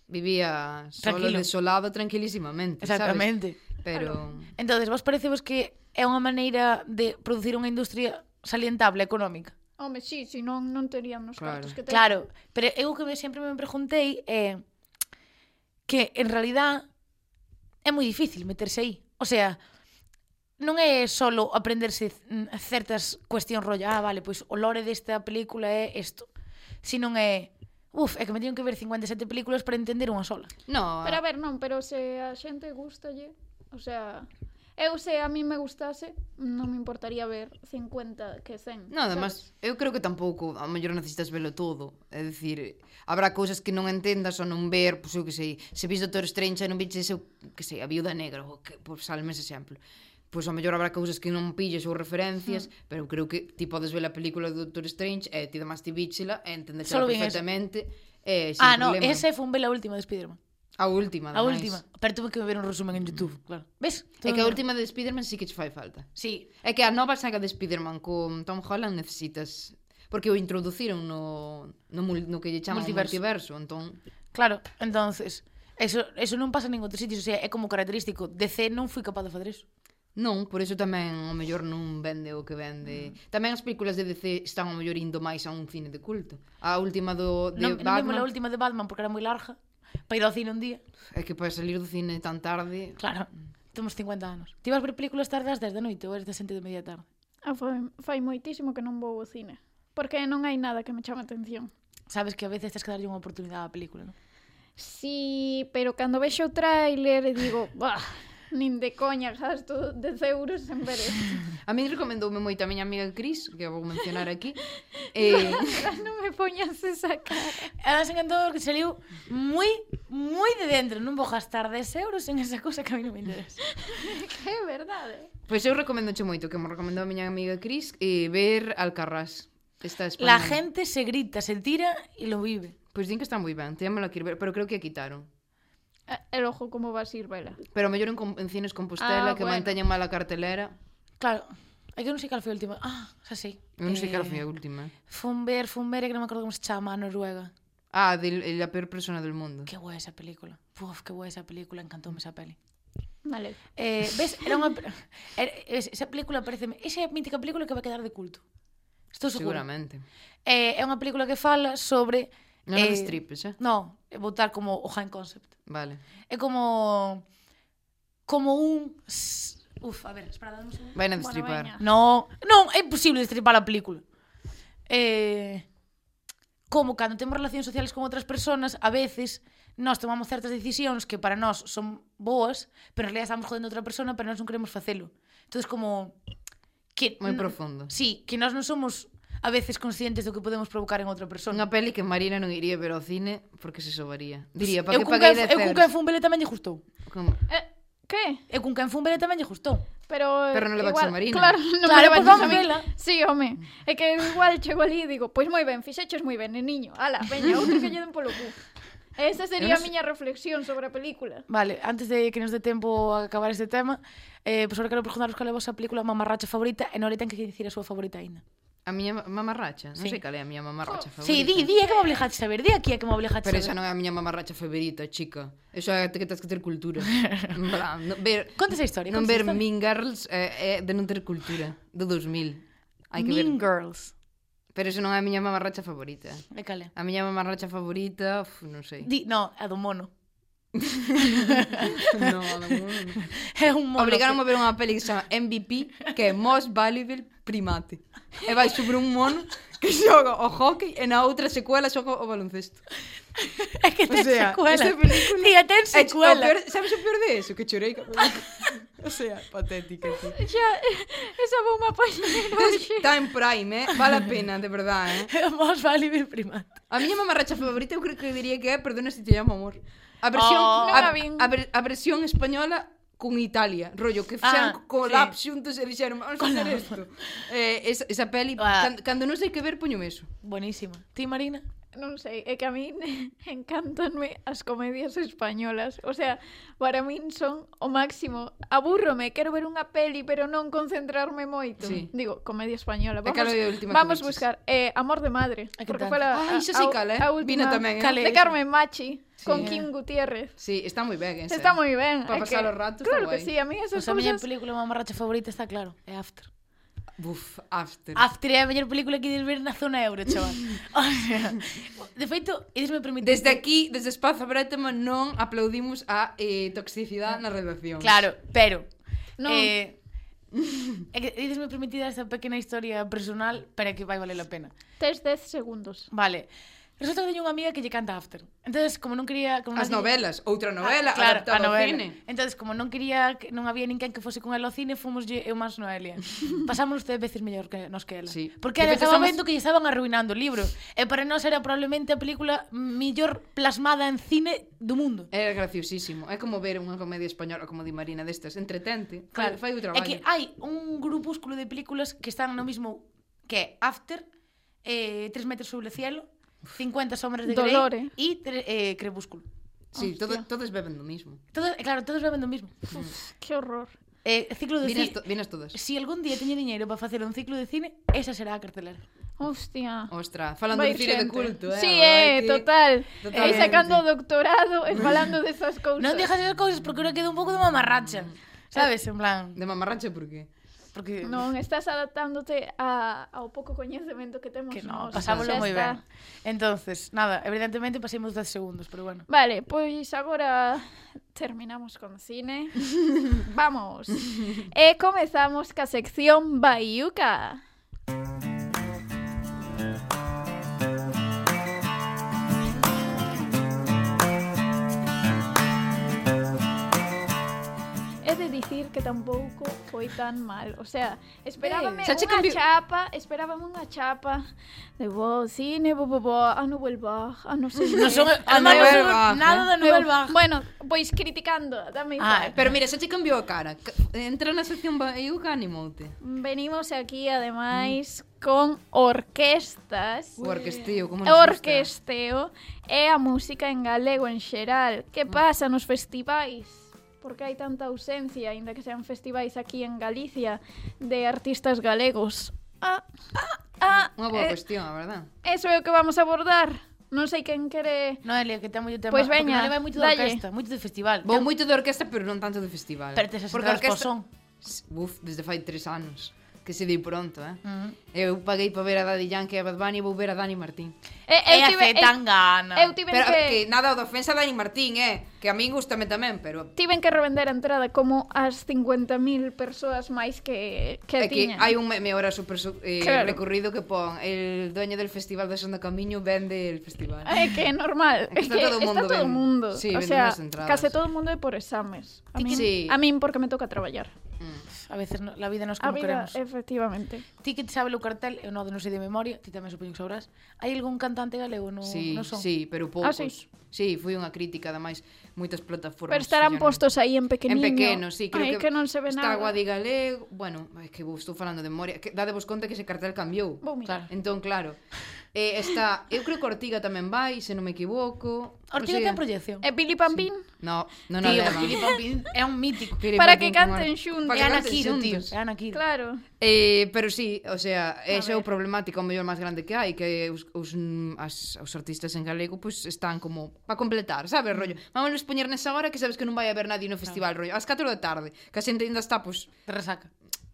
Speaker 2: vivía solo,
Speaker 1: Tranquilo.
Speaker 2: desolado, tranquilísimamente,
Speaker 1: Exactamente.
Speaker 2: sabes? Pero...
Speaker 1: Entonces, vos parecevos que é unha maneira de producir unha industria salientable económica.
Speaker 3: Home, sí, si non, non teríamos
Speaker 2: Claro.
Speaker 3: claro. cartos que ten.
Speaker 1: Claro, pero eu o que me sempre me preguntei é que en realidad é moi difícil meterse aí. O sea, non é solo aprenderse mm, certas cuestións rollo, ah, vale, pois o lore desta película é isto, sino é Uf, é que me teño que ver 57 películas para entender unha sola.
Speaker 2: No,
Speaker 3: Pero a ver, non, pero se a xente gustalle, o sea, eu se a mí me gustase, non me importaría ver 50 que 100.
Speaker 2: No, además, eu creo que tampouco a mellor necesitas velo todo. É dicir, habrá cousas que non entendas ou non ver, pois eu que sei, se vis Doctor Strange e non viches eu, que sei, a Viuda Negra, ou que, pois salme ese exemplo. Pois a mellor habrá cousas que non pilles ou referencias, mm. pero eu creo que ti podes ver a película do Doctor Strange e ti demás ti víchela e entendesela
Speaker 1: Solo vin esa.
Speaker 2: perfectamente. E, sin
Speaker 1: ah, no,
Speaker 2: problema.
Speaker 1: esa foi un vela última de Spiderman.
Speaker 2: A última,
Speaker 1: A
Speaker 2: ademais.
Speaker 1: última. Pero tuve que ver un resumen en YouTube, claro. Ves?
Speaker 2: É que a última de Spiderman sí que che fai falta.
Speaker 1: Sí,
Speaker 2: É que a nova saga de Spider-Man con Tom Holland necesitas porque o introduciron no no, mul, no que lle chaman multiverso,
Speaker 1: Multiverso.
Speaker 2: multiverso entón
Speaker 1: Claro, entonces, eso, eso non pasa en ningún outro sitio, o sea, é como característico. DC non fui capaz de fazer eso.
Speaker 2: non, por eso tamén o mellor non vende o que vende. Mm. Tamén as películas de DC están o mellor indo máis a un cine de culto. A última do de
Speaker 1: Non, non vimos a
Speaker 2: Batman,
Speaker 1: última de Batman porque era moi larga, para ir ao cine un día.
Speaker 2: é que para salir do cine tan tarde,
Speaker 1: Claro, temos 50 anos. Ti vas ver películas tarde ás 10 da noite ou ás 7 de media tarde?
Speaker 3: Ah, fai, fai moitísimo que non vou ao cine, porque non hai nada que me chame atención.
Speaker 1: Sabes que a veces tens que darlle unha oportunidade á película, non?
Speaker 3: Sí, pero cando vexo o tráiler digo, [laughs] bah, nin de coña gasto 10 euros en ver [laughs] isto.
Speaker 2: a min recomendoume moito a miña amiga Cris, que a vou mencionar
Speaker 1: [laughs]
Speaker 2: aquí. eh,
Speaker 3: non me poñas esa cara. [laughs]
Speaker 1: Ela se encantou que saliu moi, moi de dentro. Non vou gastar 10 euros en esa cosa que a mí non me interesa.
Speaker 3: Que é verdade.
Speaker 2: pois eu recomendoche moito que me recomendou a miña amiga Cris eh, ver Alcarrás. Esta
Speaker 1: La
Speaker 2: española.
Speaker 1: gente se grita, se tira e lo vive.
Speaker 2: Pois din que está moi ben, témolo que ir ver, pero creo que a quitaron.
Speaker 3: Eh, El ojo como vas a ir vela.
Speaker 2: Pero mellor en, com- en cines Compostela, ah,
Speaker 3: Ah,
Speaker 2: que
Speaker 3: bueno.
Speaker 2: manteñen mala cartelera.
Speaker 1: Claro, é que eu non sei cal foi a última. Ah, xa sei.
Speaker 2: Eu non sei
Speaker 1: Eh,
Speaker 2: que foi a última. eh.
Speaker 1: Fun ver, fun ver, é que non me acordo como se chama, a Noruega.
Speaker 2: Ah, de la peor persona del mundo.
Speaker 1: Que guai esa película. Uf, que guai esa película, encantoume esa peli.
Speaker 3: Vale.
Speaker 1: Eh, ves, era unha... [laughs] era- es- Esa película parece... Esa é a mítica película que vai quedar de culto. Estou segura.
Speaker 2: Seguramente.
Speaker 1: Eh, é unha película que fala sobre...
Speaker 2: Non eh... stripes, eh?
Speaker 1: No, votar como o High Concept.
Speaker 2: Vale.
Speaker 1: É como... Como un... s- Uf, a ver, espera, dame un segundo.
Speaker 2: Vai a
Speaker 3: Bueno,
Speaker 2: destripar.
Speaker 3: veña.
Speaker 1: No, non, é imposible destripar a película. Eh, como cando temos relacións sociales con outras persoas, a veces nós tomamos certas decisións que para nós son boas, pero en realidad estamos jodendo a outra persona, pero nós non queremos facelo. Entón, como... Que,
Speaker 2: Moi
Speaker 1: n-
Speaker 2: profundo.
Speaker 1: Sí, que nós non somos a veces conscientes do que podemos provocar en outra persona.
Speaker 2: Unha peli que Marina non iría ver ao cine porque se sobaría. Diría, para
Speaker 1: eu
Speaker 2: que
Speaker 1: cun
Speaker 2: paguei
Speaker 1: quen,
Speaker 2: 10
Speaker 1: eu cun
Speaker 2: euros.
Speaker 1: quen fun vele tamén lle gustou.
Speaker 2: Como-
Speaker 3: Eh, que?
Speaker 1: Eu cun quen fun vele tamén lle gustou.
Speaker 3: Pero, eh,
Speaker 2: Pero non levaches
Speaker 3: igual,
Speaker 2: a Marina.
Speaker 3: Claro, non
Speaker 1: Claro,
Speaker 3: me levaches
Speaker 1: pois vamos
Speaker 3: a min.
Speaker 1: vela.
Speaker 3: Sí, home. É que eu igual chego ali e digo, pois moi ben, fixeches moi ben, neniño. eh, Ala, [laughs] veña, outro que lle den polo cu. Esa sería
Speaker 2: Eu non
Speaker 3: a
Speaker 2: sei-
Speaker 3: miña reflexión sobre a película.
Speaker 1: Vale, antes de que nos dé tempo a acabar este tema, eh, pois agora quero preguntaros cal é a vosa película mamarracha favorita e non le ten que dicir a súa favorita aínda.
Speaker 2: A miña ma- mamarracha, non
Speaker 1: Sí.
Speaker 2: sei cal é a miña mamarracha favorita.
Speaker 1: Sí, di, di, é que me obligaste a saber, di aquí é que me obligaste
Speaker 2: Pero
Speaker 1: a
Speaker 2: esa
Speaker 1: saber.
Speaker 2: non é a miña mamarracha favorita, chica. Eso é que tens que ter
Speaker 1: [laughs]
Speaker 2: cultura. En plan, no- ver,
Speaker 1: Conta esa historia.
Speaker 2: non
Speaker 1: conta
Speaker 2: ver
Speaker 1: esa historia.
Speaker 2: Mean Girls é, é de non ter cultura, do 2000. Hai que ver.
Speaker 1: Mean Girls.
Speaker 2: Pero eso non é a miña mamarracha favorita.
Speaker 1: É cal é?
Speaker 2: A miña mamarracha favorita, uf, non
Speaker 1: [laughs]
Speaker 2: sei.
Speaker 1: Di, no, a do mono. [laughs]
Speaker 2: no, [laughs] non.
Speaker 1: É un mono.
Speaker 2: Obrigaron a ver unha peli que se chama MVP, que é Most Valuable Primate. E vai sobre un mono que [laughs] xoga o hockey e na outra secuela xoga o baloncesto.
Speaker 1: É que ten
Speaker 2: O sea,
Speaker 1: secuela.
Speaker 2: esta película-
Speaker 1: Tía, ten
Speaker 2: E o
Speaker 1: secuela.
Speaker 2: peor, sabes o peor de eso? Que chorei. ca- [laughs] o sea, patética. Tío.
Speaker 3: Xa, [laughs] esa vou má [laughs] poñer hoxe.
Speaker 2: Está en Prime, eh? Vale a pena, de verdad, eh?
Speaker 1: [laughs] É o Most valuable primate.
Speaker 2: A miña mamarracha favorita eu creo que diría que é Perdona se te llamo amor. A versión,
Speaker 1: Oh.
Speaker 2: a,
Speaker 3: Non a vin.
Speaker 2: a, ver- a versión española con Italia, rollo, que fixeron
Speaker 1: Ah,
Speaker 2: ah, collab sí. xuntos e dixeron, vamos a facer
Speaker 1: Collab.
Speaker 2: isto. Eh, esa, esa peli,
Speaker 1: Ah.
Speaker 2: can, cando non sei que ver, poño eso.
Speaker 1: Buenísima. Ti, Marina?
Speaker 3: Non sei, é que a min [laughs] encantanme as comedias españolas. O sea, para min son o máximo. Abúrrome, quero ver unha peli, pero non concentrarme moito.
Speaker 2: Sí.
Speaker 3: Digo, comedia española.
Speaker 2: E
Speaker 3: Vamos,
Speaker 2: cal é a última que
Speaker 3: vamos
Speaker 2: viches?
Speaker 3: buscar eh, Amor de Madre.
Speaker 1: A que
Speaker 3: Porque
Speaker 1: tal?
Speaker 3: foi a,
Speaker 2: Ah, iso sí cal, eh?
Speaker 3: a
Speaker 2: Vina
Speaker 3: última
Speaker 2: tamén, eh?
Speaker 1: Cal é
Speaker 3: de
Speaker 1: esa?
Speaker 3: Carmen Machi,
Speaker 2: Sí.
Speaker 3: con Kim Gutierrez.
Speaker 2: Sí, está moi ben, esa.
Speaker 3: Está moi ben.
Speaker 2: Pa
Speaker 3: é
Speaker 2: pasar
Speaker 3: que-
Speaker 2: o rato, está
Speaker 3: Claro que
Speaker 2: guai.
Speaker 3: sí, a mí esas
Speaker 1: Pois a miña
Speaker 3: cousas...
Speaker 1: película mamarracha favorita está claro, é After.
Speaker 2: Buf, after.
Speaker 1: After é a mellor película que ides ver na zona euro,
Speaker 2: [laughs]
Speaker 1: chaval. O sea, de feito, ides me permitir...
Speaker 2: Desde aquí, desde Espazo Bretema, non aplaudimos a eh, toxicidade na redacción.
Speaker 1: Claro, pero...
Speaker 3: Non.
Speaker 1: Eh, é que ides me permitir esta pequena historia personal para que vai valer a pena.
Speaker 3: Tes
Speaker 2: [laughs]
Speaker 3: 10 segundos.
Speaker 1: Vale. Resulta que teño unha amiga que lle canta After. Entonces, como non quería... Como non
Speaker 2: As
Speaker 1: quería-
Speaker 2: novelas, outra novela,
Speaker 1: Ah, claro,
Speaker 2: adaptada
Speaker 1: a
Speaker 2: ao
Speaker 1: novela.
Speaker 2: cine.
Speaker 1: Entonces, como non quería que non había ninguén que fose con ela ao cine, fomos lle- eu máis
Speaker 2: [laughs]
Speaker 1: Noelia. Pasámonos dez veces mellor que nos que ela.
Speaker 2: Sí.
Speaker 1: Porque
Speaker 2: De
Speaker 1: ela
Speaker 2: feito,
Speaker 1: estaba
Speaker 2: somos-
Speaker 1: vendo que lle estaban arruinando o libro. E para nós era probablemente a película mellor plasmada en cine do mundo.
Speaker 2: É graciosísimo. É como ver unha comedia española como di Marina destas. Entretente. Claro. Fai, fai
Speaker 1: É
Speaker 2: o traballo.
Speaker 1: que hai un grupúsculo de películas que están no mismo que é After, eh, Tres metros sobre o cielo, 50 sombras de Grey
Speaker 3: Dolore.
Speaker 1: e tre- eh, Crepúsculo.
Speaker 2: Sí, todo,
Speaker 3: Hostia.
Speaker 2: todos beben do mismo.
Speaker 1: Todos, eh, claro, todos beben do mismo.
Speaker 3: Uf, que horror.
Speaker 1: Eh, ciclo de ci-
Speaker 2: Vinas, to, vinas todas.
Speaker 1: Si algún día teño diñeiro para facer un ciclo de cine, esa será a cartelera.
Speaker 3: Hostia.
Speaker 2: Ostra, falando
Speaker 3: Vai
Speaker 2: de cine de
Speaker 3: xente.
Speaker 2: culto, eh?
Speaker 3: Sí,
Speaker 2: a verdade
Speaker 3: eh,
Speaker 2: que-
Speaker 3: total.
Speaker 2: Totalmente.
Speaker 3: Aí sacando o doutorado e falando desas cousas.
Speaker 1: Non dejas esas cousas porque ora queda un pouco de mamarracha.
Speaker 3: Mm.
Speaker 1: Sabes, en plan,
Speaker 2: De mamarrache por qué?
Speaker 1: porque
Speaker 3: Non, estás adaptándote a, ao pouco coñecemento que temos.
Speaker 1: que non,
Speaker 3: nós.
Speaker 1: pasámoslo
Speaker 3: Xa
Speaker 1: moi ben.
Speaker 3: está.
Speaker 1: Entonces, nada, evidentemente pasemos 10 segundos, pero
Speaker 3: [laughs]
Speaker 1: bueno.
Speaker 3: Vale, pois agora terminamos
Speaker 1: [laughs]
Speaker 3: con cine. Vamos. e comezamos ca sección Baiuca. É de dicir que tampouco foi tan mal. O sea, esperábame
Speaker 1: Eh,
Speaker 2: xa che
Speaker 3: unha
Speaker 2: cambiou-
Speaker 3: chapa, esperábame unha chapa de bo, cine, bo, bo, bo, a Nouvelle Bach, a non sei
Speaker 1: Non son,
Speaker 2: A
Speaker 1: además, non
Speaker 2: Nouvelle
Speaker 1: son
Speaker 2: Vague,
Speaker 1: nada
Speaker 2: eh.
Speaker 1: da Nouvelle Vague.
Speaker 3: [laughs] Bueno, pois criticando tamén
Speaker 1: Ah,
Speaker 3: igual.
Speaker 2: Pero mira, xa che cambiou a cara. Ca- Entra na sección Baiuca, animoute.
Speaker 3: Venimos aquí ademais con orquestas.
Speaker 2: O orquestío, como
Speaker 3: O orquesteo é a música en galego en xeral. Que
Speaker 1: Mm.
Speaker 3: pasa nos festivais? Porque hai tanta ausencia, aínda que sean festivais aquí en Galicia, de artistas galegos. Ah, ah, ah.
Speaker 2: Unha boa
Speaker 3: eh,
Speaker 2: cuestión, a verdad.
Speaker 3: eso é o que vamos a abordar. Non sei quen quere...
Speaker 1: Noelia, que ten moito tema.
Speaker 3: Pois
Speaker 1: porque
Speaker 3: veña,
Speaker 1: Noelia vai moito de
Speaker 3: dalle.
Speaker 1: orquesta, moito de festival.
Speaker 2: Vou moito de orquesta, pero non tanto de festival.
Speaker 1: Pero tes as
Speaker 2: Porque a
Speaker 1: entradas posón.
Speaker 2: orquesta- Uf, desde fai tres anos. Que se di pronto, eh?
Speaker 1: Mm.
Speaker 2: Eu paguei para ver a Daddy Yankee e a Bad Bunny e vou ver a Dani Martín.
Speaker 3: Eh,
Speaker 1: E
Speaker 3: eu
Speaker 1: hace
Speaker 3: tive,
Speaker 1: tan
Speaker 3: eu,
Speaker 1: gana.
Speaker 3: eu tiven
Speaker 2: Pero que
Speaker 3: que...
Speaker 2: nada, o da ofensa a Dani Martín, eh? Que a min gustame tamén, pero
Speaker 3: tiven que revender a entrada como as 50.000 persoas máis que, que
Speaker 2: É que
Speaker 3: tiñan.
Speaker 2: hai un meme ahora super su- eh,
Speaker 3: Claro.
Speaker 2: recurrido que pon El dueño del festival de Son do Camiño vende el festival
Speaker 3: É que é normal, é que
Speaker 2: Está todo o mundo
Speaker 3: todo o
Speaker 2: ben-
Speaker 3: mundo.
Speaker 2: Sí,
Speaker 3: o
Speaker 2: vendendo
Speaker 3: sea,
Speaker 2: as entradas.
Speaker 3: case todo o mundo é por exames. A min,
Speaker 2: Sí.
Speaker 3: a min porque me toca traballar.
Speaker 2: mm.
Speaker 1: a veces no, la vida nos
Speaker 3: A
Speaker 1: como
Speaker 3: vida,
Speaker 1: queremos.
Speaker 3: efectivamente.
Speaker 1: Ti que te sabe o cartel, eu non, non sei de memoria, ti tamén supoño que sabrás. Hai algún cantante galego
Speaker 3: Oh,
Speaker 1: no,
Speaker 2: Sí,
Speaker 1: no son?
Speaker 2: sí, pero poucos.
Speaker 3: Ah, sí?
Speaker 2: sí, foi unha crítica, ademais, moitas plataformas.
Speaker 3: Pero estarán
Speaker 2: fixeron-
Speaker 3: postos aí en pequeniño.
Speaker 2: En pequeno, sí, creo
Speaker 3: Ai,
Speaker 2: que,
Speaker 3: que non se ve
Speaker 2: está
Speaker 3: nada.
Speaker 2: Guadi Galego, bueno, é que vou estou falando de memoria, que dadevos conta que ese cartel cambiou.
Speaker 3: Vou
Speaker 1: Claro.
Speaker 3: mirar.
Speaker 2: Entón, claro. Eh, está, eu creo que Ortiga tamén vai, se non me equivoco.
Speaker 1: Ortiga ten proyección.
Speaker 3: E Billy Pampín?
Speaker 2: No, non a
Speaker 1: Eh, Tío,
Speaker 2: levan.
Speaker 1: Filipe Alpín é un mítico.
Speaker 2: Pili
Speaker 3: Para
Speaker 2: Martín
Speaker 3: que
Speaker 2: con Or-
Speaker 3: canten xuntos.
Speaker 1: É
Speaker 2: Para que
Speaker 1: Ana
Speaker 2: canten
Speaker 1: Kido, tío.
Speaker 2: xuntos.
Speaker 1: É Ana Kido.
Speaker 3: Claro.
Speaker 2: Eh, pero sí, o sea, ese é o
Speaker 3: ver.
Speaker 2: problemático o mellor máis grande que hai que os, os, mm, as, os artistas en galego pois están como para completar,
Speaker 1: Mm.
Speaker 2: sabes, rollo. Vámonos poñer nesa hora que sabes que non vai haber nadie no festival, rollo. Ás 4 da tarde, que a xente ainda está pois
Speaker 1: Te resaca.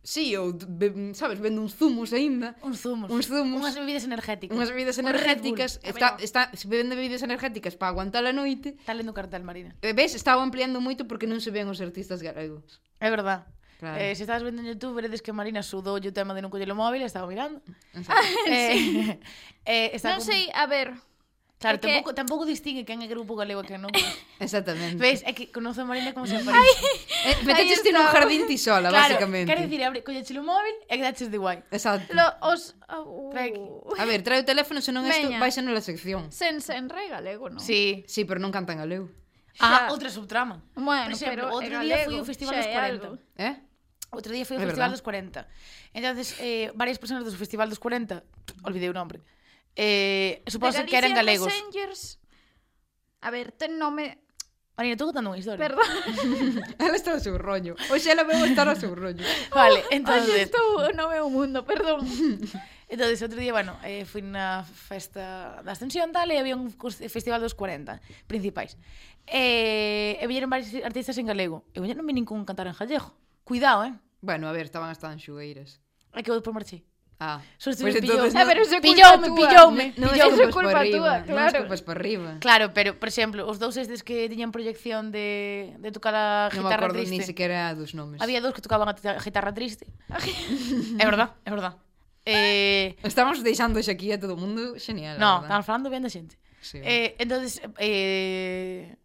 Speaker 2: Sí, ou be, sabes, vendo uns zumos aínda.
Speaker 1: Uns zumos.
Speaker 2: Uns zumos.
Speaker 1: Unhas bebidas energéticas.
Speaker 2: Unhas bebidas
Speaker 1: Un Red Bull.
Speaker 2: energéticas,
Speaker 1: A
Speaker 2: está,
Speaker 1: ver,
Speaker 2: está, se bebendo bebidas energéticas para aguantar a noite.
Speaker 1: Está lendo o cartel, Marina.
Speaker 2: E ves, estaba ampliando moito porque non se ven os artistas galegos.
Speaker 1: É verdad.
Speaker 2: Claro.
Speaker 1: Eh, se estás vendo en Youtube, veredes que Marina sudou o tema de non coller o móvil, estaba [laughs] mirando. eh, [laughs] eh, está como-
Speaker 3: Non sei, a ver,
Speaker 1: Claro,
Speaker 3: é que-
Speaker 1: tampouco, tampouco distingue quen é grupo galego e [laughs] quen non.
Speaker 2: Exactamente.
Speaker 1: [laughs] Ves, é que conoce a Marina como se parece.
Speaker 2: Eh, meteches ti
Speaker 3: está.
Speaker 2: nun jardín ti sola,
Speaker 1: Claro,
Speaker 2: basicamente.
Speaker 1: quero dicir, abre, colle o móvil e quedaches de guai.
Speaker 2: Exacto.
Speaker 3: lo, os... au-
Speaker 1: Trae aquí.
Speaker 2: A ver, trae o teléfono, senón isto
Speaker 3: Veña.
Speaker 2: vai ser nula sección.
Speaker 3: Sen, sen, re galego, non?
Speaker 1: Sí.
Speaker 2: Sí, pero non cantan galego.
Speaker 1: Ah,
Speaker 3: Xa.
Speaker 1: outra subtrama.
Speaker 3: Bueno,
Speaker 1: Por exemplo,
Speaker 3: pero
Speaker 1: outro
Speaker 3: é
Speaker 1: día foi
Speaker 3: galego,
Speaker 1: o Festival
Speaker 3: xa
Speaker 1: dos
Speaker 3: é
Speaker 1: 40.
Speaker 3: algo.
Speaker 2: Eh? [laughs]
Speaker 1: Outro día foi o
Speaker 2: É
Speaker 1: Festival dos
Speaker 2: verdad.
Speaker 1: 40. Entonces, eh, varias persoas do Festival dos 40, olvidei o nombre, eh, supose que eran
Speaker 3: Galician
Speaker 1: galegos.
Speaker 3: Messengers... A ver, ten nome...
Speaker 1: Marina, estou contando unha historia.
Speaker 3: Perdón, [laughs]
Speaker 2: Ela está ao seu rollo. Oxe, ela veu estar ao seu rollo.
Speaker 1: Vale,
Speaker 3: hoxe
Speaker 1: [laughs] entonces,
Speaker 3: estou no meu
Speaker 1: [laughs]
Speaker 3: mundo, perdón.
Speaker 1: entonces outro día, bueno, eh, fui na festa da Ascensión tal e había un cos- Festival dos 40 principais. Eh, e viñeron varios artistas en galego. E viñeron non vi ningún cantar en gallego. Cuidado, eh?
Speaker 2: Bueno, a ver, estaban hasta en xugueiras.
Speaker 1: É que eu depois marchei.
Speaker 2: Ah,
Speaker 1: Só se
Speaker 2: pois
Speaker 1: me pillou.
Speaker 2: entonces
Speaker 1: Eh,
Speaker 2: non-
Speaker 3: pero se culpa
Speaker 1: Pilloume,
Speaker 3: túa.
Speaker 1: pilloume.
Speaker 2: Non
Speaker 1: Pilloume.
Speaker 2: escupas
Speaker 3: Eso é culpa
Speaker 2: pa arriba,
Speaker 3: túa,
Speaker 2: Non
Speaker 3: claro.
Speaker 2: escupas para arriba.
Speaker 1: Claro, pero, por exemplo, os dous estes que tiñan proyección de, de tocar a
Speaker 2: Non me
Speaker 1: guitarra
Speaker 2: acordo
Speaker 1: triste.
Speaker 2: nin sequera dos nomes.
Speaker 1: Había dous que tocaban a tita- guitarra triste.
Speaker 2: [laughs]
Speaker 1: é verdad, é verdad.
Speaker 2: [laughs]
Speaker 1: Eh,
Speaker 2: Estamos deixando xa aquí a todo o mundo genial.
Speaker 1: no,
Speaker 2: a verdad.
Speaker 1: estaban falando ben da xente.
Speaker 2: Sí.
Speaker 1: Eh, entonces, eh,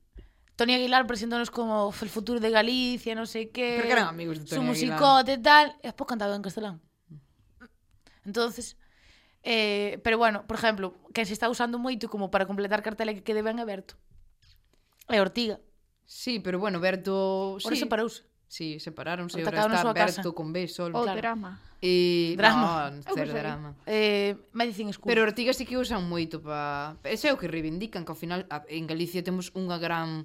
Speaker 1: Tony Aguilar presentónos como el futuro de Galicia, non sei que...
Speaker 2: Pero que eran amigos de
Speaker 1: Su
Speaker 2: Toni Aguilar.
Speaker 1: musicote e tal, e despois cantaba en castelán. Entonces, eh, pero bueno, por exemplo, que se está usando moito como para completar cartela que quede ben aberto. É Ortiga.
Speaker 2: Sí, pero bueno, Berto...
Speaker 1: Ora
Speaker 2: Sí,
Speaker 1: separouse.
Speaker 2: sí separáronse,
Speaker 1: Ora
Speaker 2: ora
Speaker 1: cada un
Speaker 2: está
Speaker 1: súa casa.
Speaker 2: Berto con B solo.
Speaker 3: O
Speaker 1: Claro.
Speaker 3: drama.
Speaker 2: E...
Speaker 1: Drama.
Speaker 2: No,
Speaker 3: Eu
Speaker 2: cero
Speaker 3: pensei.
Speaker 2: drama.
Speaker 1: Eh, Medicine School.
Speaker 2: Pero Ortiga sí que usan moito pa... Ese é o que reivindican, que ao final a- en Galicia temos unha gran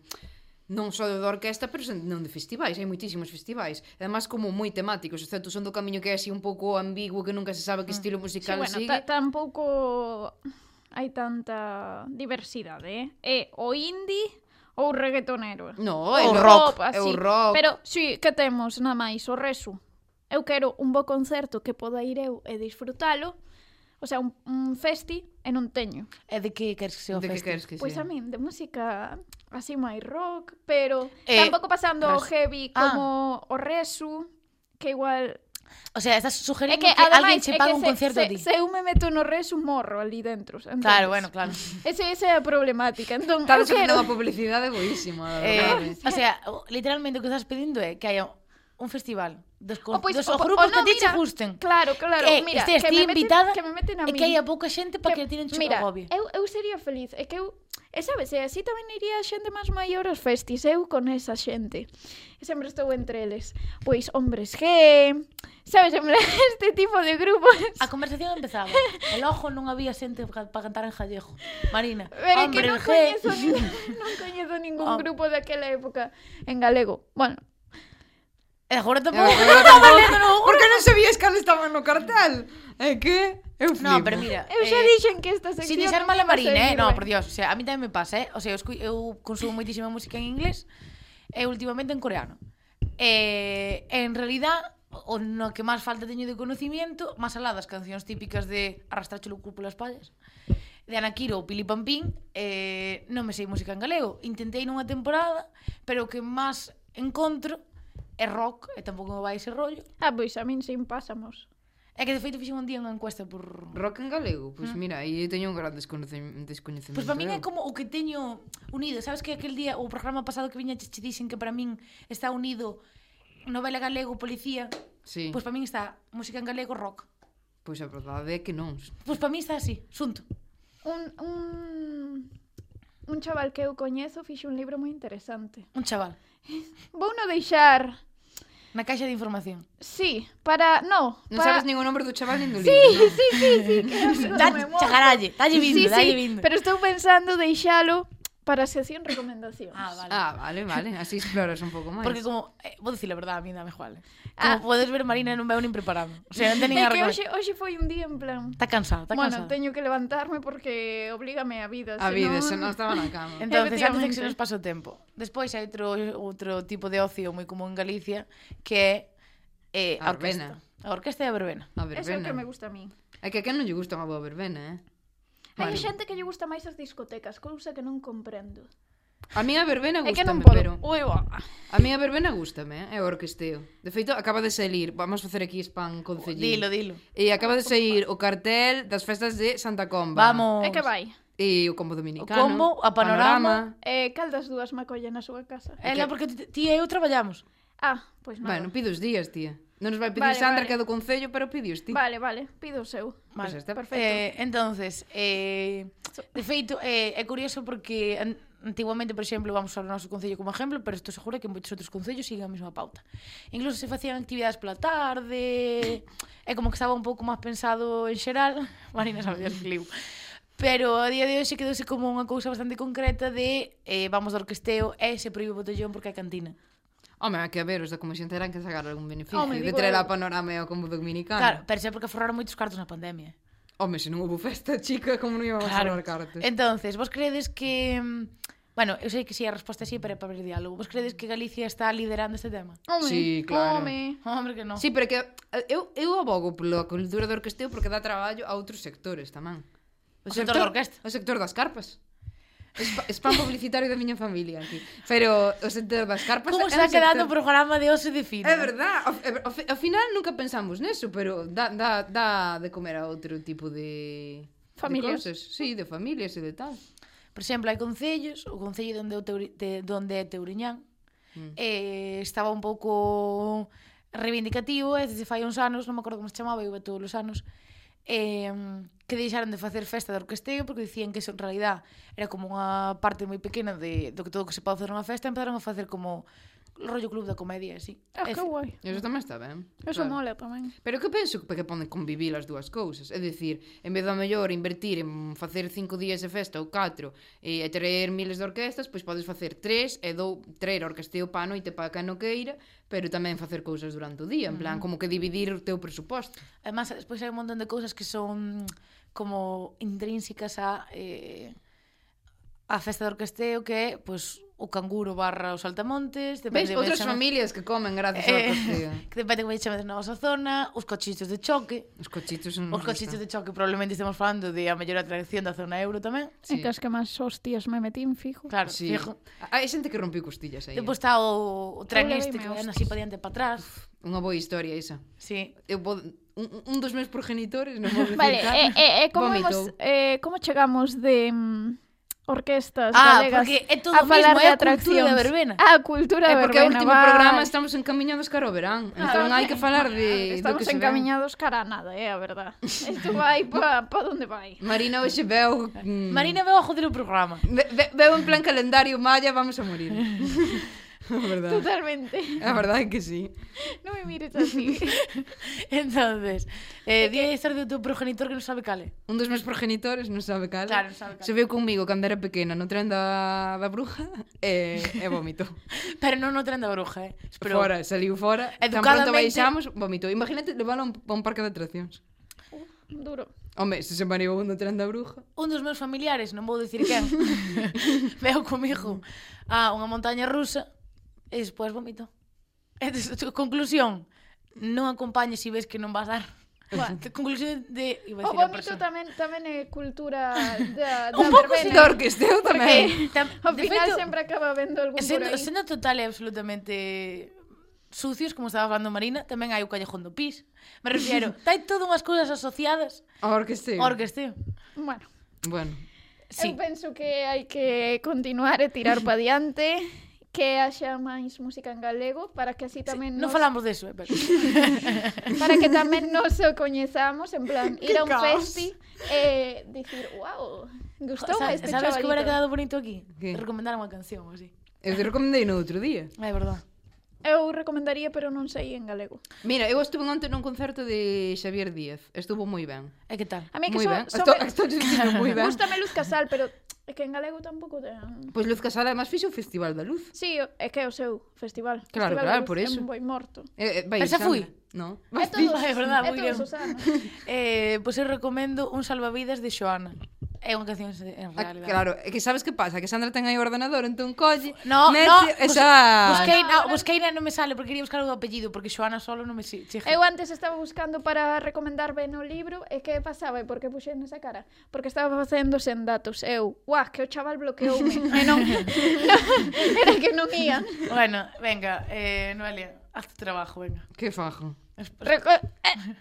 Speaker 2: non só de orquesta, pero sen- non de festivais, hai moitísimos festivais. E además como moi temáticos, excepto son do camiño que é así un pouco ambiguo, que nunca se sabe que estilo
Speaker 3: Ah, Sí,
Speaker 2: musical
Speaker 3: bueno,
Speaker 2: sigue.
Speaker 3: ta- tampouco hai tanta diversidade, eh? É o indie ou o reggaetonero.
Speaker 2: No, é
Speaker 3: o
Speaker 2: lo-
Speaker 3: rock,
Speaker 2: é
Speaker 3: así.
Speaker 2: o rock.
Speaker 3: Pero si, que temos na máis o resu. Eu quero un bo concerto que poda ir eu e disfrutalo, o sea, un, un festi e non teño.
Speaker 1: É Eh, de que queres que sea o
Speaker 2: de que
Speaker 1: festi?
Speaker 2: queres que
Speaker 3: Pois
Speaker 2: sea?
Speaker 3: pues a min de música así máis rock, pero
Speaker 1: Eh,
Speaker 3: tampouco pasando o
Speaker 1: res-
Speaker 3: heavy
Speaker 1: Ah.
Speaker 3: como o resu, que igual
Speaker 1: O sea, estás
Speaker 3: É
Speaker 1: sugerindo
Speaker 3: que,
Speaker 1: que, alguén
Speaker 3: ademais,
Speaker 1: che
Speaker 3: é
Speaker 1: paga
Speaker 3: que
Speaker 1: un
Speaker 3: se-
Speaker 1: concierto
Speaker 3: se,
Speaker 1: a ti.
Speaker 3: se eu me meto no res un morro ali dentro. Entonces, [laughs]
Speaker 1: Claro, bueno, claro.
Speaker 3: Ese, esa é a problemática. Entón, eu
Speaker 2: Estamos
Speaker 3: quero...
Speaker 2: facendo unha publicidade boísima.
Speaker 3: [laughs]
Speaker 1: Eh, o sea, o- literalmente o que estás pedindo é que haya un festival dos, con,
Speaker 3: O, pois,
Speaker 1: dos o,
Speaker 3: o, po-
Speaker 1: grupos
Speaker 3: o
Speaker 1: que
Speaker 3: no,
Speaker 1: ti che
Speaker 3: mira,
Speaker 1: gusten.
Speaker 3: [laughs] Claro, claro,
Speaker 1: que
Speaker 3: mira,
Speaker 1: estés
Speaker 3: que
Speaker 1: ti
Speaker 3: me meten-
Speaker 1: Eh, este, invitada
Speaker 3: que me meten
Speaker 1: e
Speaker 3: a min.
Speaker 1: que haya pouca xente para que, que tiren
Speaker 3: mira,
Speaker 1: mira, agobio.
Speaker 3: eu, eu sería feliz, é que eu E sabes, e así tamén iría a xente máis maior aos festis, eu con esa xente. E sempre estou entre eles. Pois hombres G, sabes, en plan, [laughs] este tipo de grupos.
Speaker 1: A conversación empezaba. El ojo non había xente para cantar en gallego. Marina,
Speaker 3: Pero é que
Speaker 1: hombre,
Speaker 3: non
Speaker 1: el G.
Speaker 3: coñezo, nin, [laughs] non coñezo ningún
Speaker 1: Hom-
Speaker 3: grupo daquela época en galego. Bueno,
Speaker 1: E agora tampouco.
Speaker 2: Por que non sabías cal estaba no cartel? É que... Eu flipo.
Speaker 1: No, pero mira, eh,
Speaker 3: eu xa dixen que esta sección...
Speaker 1: Sin deixar mal a
Speaker 3: non iba
Speaker 1: Marina, eh?
Speaker 3: servir
Speaker 1: No,
Speaker 3: ben.
Speaker 1: por dios, o sea, a mí tamén me pasa, eh? O sea, eu, escu- eu consumo moitísima música en inglés e últimamente en coreano. Eh, en realidad, o no que máis falta teño de conocimiento, máis alá das cancións típicas de Arrastrar chulo cu polas pallas, de Anakiro ou Pili Pampín, eh, non me sei música en galego. Intentei nunha temporada, pero o que máis encontro é rock, e tampouco me vai ese rollo.
Speaker 3: Ah, pois a min sin pasamos.
Speaker 1: É que, de feito, fixen un día unha encuesta por...
Speaker 2: Rock en galego, pois mira, aí eu teño un gran descoñecem- descoñecemento.
Speaker 1: Pois para min é
Speaker 2: eu.
Speaker 1: como o que teño unido, sabes que aquel día o programa pasado que viña che, che dixen que para min está unido novela galego, policía,
Speaker 2: Sí.
Speaker 1: Pois para min está música en galego rock.
Speaker 2: Pois a verdade é que non.
Speaker 1: Pois para min está así, xunto.
Speaker 3: Un, un, un chaval que eu coñezo fixe un libro moi interesante.
Speaker 1: Un chaval.
Speaker 3: Vou no deixar...
Speaker 1: Na caixa de información.
Speaker 3: Sí, para... No,
Speaker 2: Non
Speaker 3: para...
Speaker 2: sabes nin o nombre do chaval nin do sí. libro.
Speaker 3: [laughs] Sí, sí, sí, que non
Speaker 1: [laughs]
Speaker 3: se me
Speaker 1: Dalle,
Speaker 3: moa.
Speaker 1: chagaralle, dalle vindo,
Speaker 3: Sí,
Speaker 1: dalle
Speaker 3: sí,
Speaker 1: vindo.
Speaker 3: pero estou pensando deixalo para a sección recomendacións.
Speaker 1: Ah, vale.
Speaker 2: Ah, vale, vale, así exploras un pouco máis.
Speaker 1: Porque como, eh, vou dicir a verdade, a mí dame igual. eh. Como
Speaker 3: Ah.
Speaker 1: ah. podes ver, Marina non veu nin preparado. O sea, non ten nin a
Speaker 3: É que
Speaker 1: recomendación.
Speaker 3: hoxe, hoxe foi un día en plan...
Speaker 1: Está cansada, está
Speaker 3: Bueno,
Speaker 1: cansada.
Speaker 3: teño que levantarme porque oblígame a vida.
Speaker 2: a vida, se non
Speaker 3: senón-
Speaker 2: estaba na
Speaker 1: [laughs]
Speaker 2: cama.
Speaker 1: Entonces, antes de que
Speaker 3: Efectivamente.
Speaker 1: se nos pase o tempo. Despois hai outro, outro tipo de ocio moi común en Galicia que é eh,
Speaker 2: A
Speaker 1: a orquesta. A orquesta e a verbena.
Speaker 2: A
Speaker 3: Eso é o
Speaker 2: verbena.
Speaker 3: que me gusta a mí.
Speaker 2: É que a quen non lle gusta unha boa verbena, eh?
Speaker 3: Hai
Speaker 1: Bueno.
Speaker 3: xente que lle gusta máis as discotecas, cousa que non comprendo.
Speaker 2: A mí a verbena
Speaker 3: É que non
Speaker 2: gustame,
Speaker 3: podo.
Speaker 2: pero...
Speaker 3: Ui, bo.
Speaker 2: A mí a verbena gustame, eh? é o orquesteo. De feito, acaba de salir, vamos facer aquí spam concellín.
Speaker 1: Dilo, dilo.
Speaker 2: E acaba de sair o cartel das festas de Santa Comba.
Speaker 1: Vamos.
Speaker 3: É que vai.
Speaker 2: E o combo dominicano.
Speaker 1: O combo, a panorama.
Speaker 3: Eh, cal das dúas ma colle na súa casa?
Speaker 1: Ela, porque ti- ti e eu traballamos.
Speaker 3: Ah, pois nada.
Speaker 2: Bueno, pide os días, tía. Non nos vai pedir
Speaker 3: Vale,
Speaker 2: vale, Sandra,
Speaker 3: vale.
Speaker 2: vale. que é do Concello, pero pide os ti.
Speaker 3: Vale, vale, pido o seu.
Speaker 2: Pois está perfecto.
Speaker 1: Eh, entonces, eh, de feito, eh, é curioso porque an- antiguamente, por exemplo, vamos ao noso concello como exemplo, pero estou segura que en moitos outros concellos siguen a mesma pauta. Incluso se facían actividades pola tarde, [coughs] é como que estaba un pouco máis pensado en xeral, [laughs] Marina sabe Dios que liu. Pero a día de hoxe quedouse como unha cousa bastante concreta de eh, vamos do orquesteo e se proíbe o botellón porque hai cantina.
Speaker 2: Home, hai que ver, os da comisión terán que sacar algún beneficio.
Speaker 3: Home,
Speaker 2: Home, de
Speaker 3: digo
Speaker 2: traer
Speaker 3: eu.
Speaker 2: a panorama e ao combo dominicano.
Speaker 1: Claro, pero sempre porque forraron moitos cartos na pandemia.
Speaker 2: Home, se non houve festa, chica, como non íbamos a
Speaker 1: Claro.
Speaker 2: robar cartas?
Speaker 1: Entonces, vos credes que mm, Bueno, eu sei que si sí, a resposta é sí, pero é para abrir diálogo. Vos credes que Galicia está liderando este tema? [laughs]
Speaker 3: Home,
Speaker 2: Sí, claro.
Speaker 3: Home.
Speaker 1: Hombre que non.
Speaker 2: Sí, pero que eh, eu, eu abogo pola cultura do orquesteo porque dá traballo a outros sectores tamén.
Speaker 1: O sector da orquesta.
Speaker 2: O sector das carpas. Espa- Spam publicitario da miña familia aquí. Pero o sector das carpas
Speaker 1: Como
Speaker 2: é
Speaker 1: está
Speaker 2: un
Speaker 1: quedando o
Speaker 2: sector...
Speaker 1: programa de hoxe de fino?
Speaker 2: É verdad, ao, é ver- ao, fi- ao final nunca pensamos neso, pero dá, dá, dá de comer a outro tipo de...
Speaker 3: Familias.
Speaker 2: De cousas. Sí, de familias e de tal.
Speaker 1: Por exemplo, hai concellos, o concello donde, eu teuri, de, donde é Teuriñán, mm. eh, estaba un pouco reivindicativo, e desde fai uns anos, non me acordo como se chamaba, eu ve todos os anos, eh, que deixaron de facer festa de orquesteo porque dicían que eso en realidad era como unha parte moi pequena de, do que todo o que se pode facer nunha festa, empezaron a facer como rollo club da comedia, así.
Speaker 3: Ah, que guai.
Speaker 2: E Eso tamén está ben.
Speaker 3: Eso mola tamén.
Speaker 2: Pero que penso que poden convivir as dúas cousas? É dicir, en vez da mellor invertir en facer cinco días de festa ou catro e traer miles de orquestas, pois podes facer tres e dou traer orquesteo pa a noite pa cano queira, pero tamén facer cousas durante o día, en
Speaker 3: Mm.
Speaker 2: plan, como que dividir o teu presuposto.
Speaker 1: Además, despois hai un montón de cousas que son como intrínsecas a eh, a festa de orquesteo que é pois, o canguro barra os saltamontes
Speaker 2: Ves,
Speaker 1: depende como
Speaker 2: outras
Speaker 1: lle chamas-
Speaker 2: familias que comen gracias ao
Speaker 3: [laughs]
Speaker 2: orquesteo.
Speaker 1: eh, que depende como lle chames na vosa zona os cochichos de choque
Speaker 2: Os cochitos non
Speaker 1: os
Speaker 2: nos
Speaker 1: cochichos
Speaker 2: gustan.
Speaker 1: de choque probablemente estemos falando de a mellor atracción da zona euro tamén
Speaker 2: Sí.
Speaker 3: Sí. É que as que máis hostias me metín fijo.
Speaker 1: claro,
Speaker 2: Sí.
Speaker 1: fijo
Speaker 2: Ah, Hai xente que rompiu costillas aí. eh.
Speaker 1: Depois está o, o tren
Speaker 3: Eu
Speaker 1: este
Speaker 3: leveime
Speaker 1: que vai
Speaker 3: hostias.
Speaker 1: así para diante e para atrás.
Speaker 2: Unha boa historia esa.
Speaker 1: Sí.
Speaker 2: Eu pod... un, un dos meus progenitores, non vou dicir
Speaker 3: [laughs] Vale, eh,
Speaker 2: cal,
Speaker 3: e, e, e como
Speaker 2: vomitou.
Speaker 3: vemos, eh, como chegamos de mm, orquestas
Speaker 1: Ah,
Speaker 3: galegas
Speaker 1: porque é todo o
Speaker 3: a
Speaker 1: mismo,
Speaker 3: falar
Speaker 1: é
Speaker 3: de
Speaker 1: a cultura
Speaker 3: atraccións?
Speaker 1: da verbena.
Speaker 3: Ah, a cultura
Speaker 2: É
Speaker 3: da
Speaker 2: porque o
Speaker 3: verbena,
Speaker 2: último
Speaker 3: vai. Ah,
Speaker 2: programa estamos encaminhados cara ao verán. Entón hai que falar de do
Speaker 3: Estamos
Speaker 2: que se
Speaker 3: encaminhados cara a nada, é eh, a [laughs] verdad. Isto vai pa, pa donde vai.
Speaker 2: Ven. Marina hoxe veu... mm,
Speaker 1: Marina veu a joder o programa. [laughs]
Speaker 2: ve- ve- Veu en plan calendario malla, vamos a
Speaker 3: [laughs]
Speaker 2: morir. [laughs] A verdade.
Speaker 3: Totalmente.
Speaker 2: A verdade é que sí.
Speaker 3: Non me mires [laughs] así.
Speaker 1: Entonces, eh, di a historia do teu progenitor que non sabe cale.
Speaker 2: Un dos meus progenitores, non sabe cal,
Speaker 1: Claro, non sabe cal.
Speaker 2: se veu comigo cando era pequena no tren da, da bruja e, e
Speaker 3: [laughs]
Speaker 2: vomitou.
Speaker 1: Pero non o tren da bruja, eh.
Speaker 2: Pero
Speaker 1: Espero.
Speaker 2: fora, saliu fora, tan pronto
Speaker 1: Educadamente-
Speaker 2: baixamos, vomitou. Imagínate leválo a un, a un parque de atraccións.
Speaker 3: Uh, Duro.
Speaker 2: Home, se se mareou no tren da bruja.
Speaker 1: Un dos meus familiares, non vou dicir
Speaker 3: [laughs]
Speaker 1: quen, veu comigo a unha montaña rusa e despois vomito. Entonces, a túa conclusión, non acompañes se ves que non vas dar. Conclusión de... Iba a
Speaker 3: O
Speaker 1: dicir a
Speaker 3: vómito
Speaker 1: persona.
Speaker 3: tamén tamén é cultura da,
Speaker 1: [laughs]
Speaker 3: da
Speaker 1: Un pouco
Speaker 3: verbena.
Speaker 2: Dor que esteu
Speaker 1: Eh,
Speaker 2: tamén.
Speaker 1: [laughs] tam-
Speaker 3: Ao
Speaker 1: de
Speaker 3: final
Speaker 1: feito,
Speaker 3: sempre acaba vendo algún por
Speaker 1: Sendo,
Speaker 3: aí.
Speaker 1: sendo total e absolutamente sucios, como estaba falando Marina, tamén hai o callejón do pis. Me
Speaker 3: [laughs]
Speaker 1: refiero, hai todas unhas cousas asociadas
Speaker 2: A orquesteo.
Speaker 1: ao orquesteo.
Speaker 3: Bueno,
Speaker 2: Bueno.
Speaker 1: Sí.
Speaker 3: eu penso que hai que continuar e tirar pa diante que haxa máis música en galego para que así tamén
Speaker 1: Non
Speaker 3: nos-
Speaker 1: falamos deso, eh, pero...
Speaker 3: [laughs] para
Speaker 1: [laughs]
Speaker 3: que tamén nos o coñezamos, en plan, ir a un
Speaker 1: caos.
Speaker 3: festi eh, e dicir, wow, gustou a
Speaker 1: Sa-
Speaker 3: este
Speaker 1: Sabes que hubiera
Speaker 3: chavalito.
Speaker 1: quedado bonito aquí?
Speaker 2: Que?
Speaker 1: Recomendar unha canción, ou así.
Speaker 2: Eu te recomendei no outro día.
Speaker 1: É verdad.
Speaker 3: Eu recomendaría, pero non sei en galego.
Speaker 2: Mira, eu estuve ontem nun concerto de Xavier Díaz. Estuvo moi ben.
Speaker 1: É que tal?
Speaker 3: A mí é que
Speaker 2: Moi
Speaker 3: so,
Speaker 2: ben.
Speaker 1: [laughs]
Speaker 3: so
Speaker 2: Estou, estou dicindo moi ben.
Speaker 3: Gústame Luz Casal, pero é que en galego tampouco ten...
Speaker 2: Pois Luz Casal además fixo o Festival da Luz.
Speaker 3: Sí, o- é que é o seu festival.
Speaker 2: Claro,
Speaker 3: festival
Speaker 2: claro,
Speaker 3: de Luz
Speaker 2: por eso.
Speaker 3: En Boi Morto.
Speaker 2: Eh, eh, vai,
Speaker 1: Pero xa
Speaker 2: Sandra.
Speaker 1: fui.
Speaker 2: No.
Speaker 3: É
Speaker 2: Vas ti?
Speaker 3: todos,
Speaker 1: É verdad,
Speaker 3: é
Speaker 1: moi
Speaker 3: todos
Speaker 1: ben.
Speaker 3: os anos.
Speaker 1: Eh, pois eu recomendo Un salvavidas de Xoana. É unha canción se- en
Speaker 2: Ah,
Speaker 1: realidad.
Speaker 2: claro, é que sabes que pasa? Que Sandra ten aí o ordenador, entón colle...
Speaker 1: No,
Speaker 2: mete
Speaker 1: no,
Speaker 2: esa...
Speaker 1: Busquei, no, busquei na non me sale porque quería buscar o apellido porque Xoana solo non me si- chega.
Speaker 3: Eu antes estaba buscando para recomendar ben o libro e que pasaba e por que puxen esa cara? Porque estaba facendo sen datos. Eu, uah, que o chaval bloqueoume.
Speaker 1: [laughs]
Speaker 3: e non, era que non ía.
Speaker 1: Bueno, venga, eh, Noelia, haz tu trabajo, venga.
Speaker 2: Que fajo.
Speaker 3: Reco eh,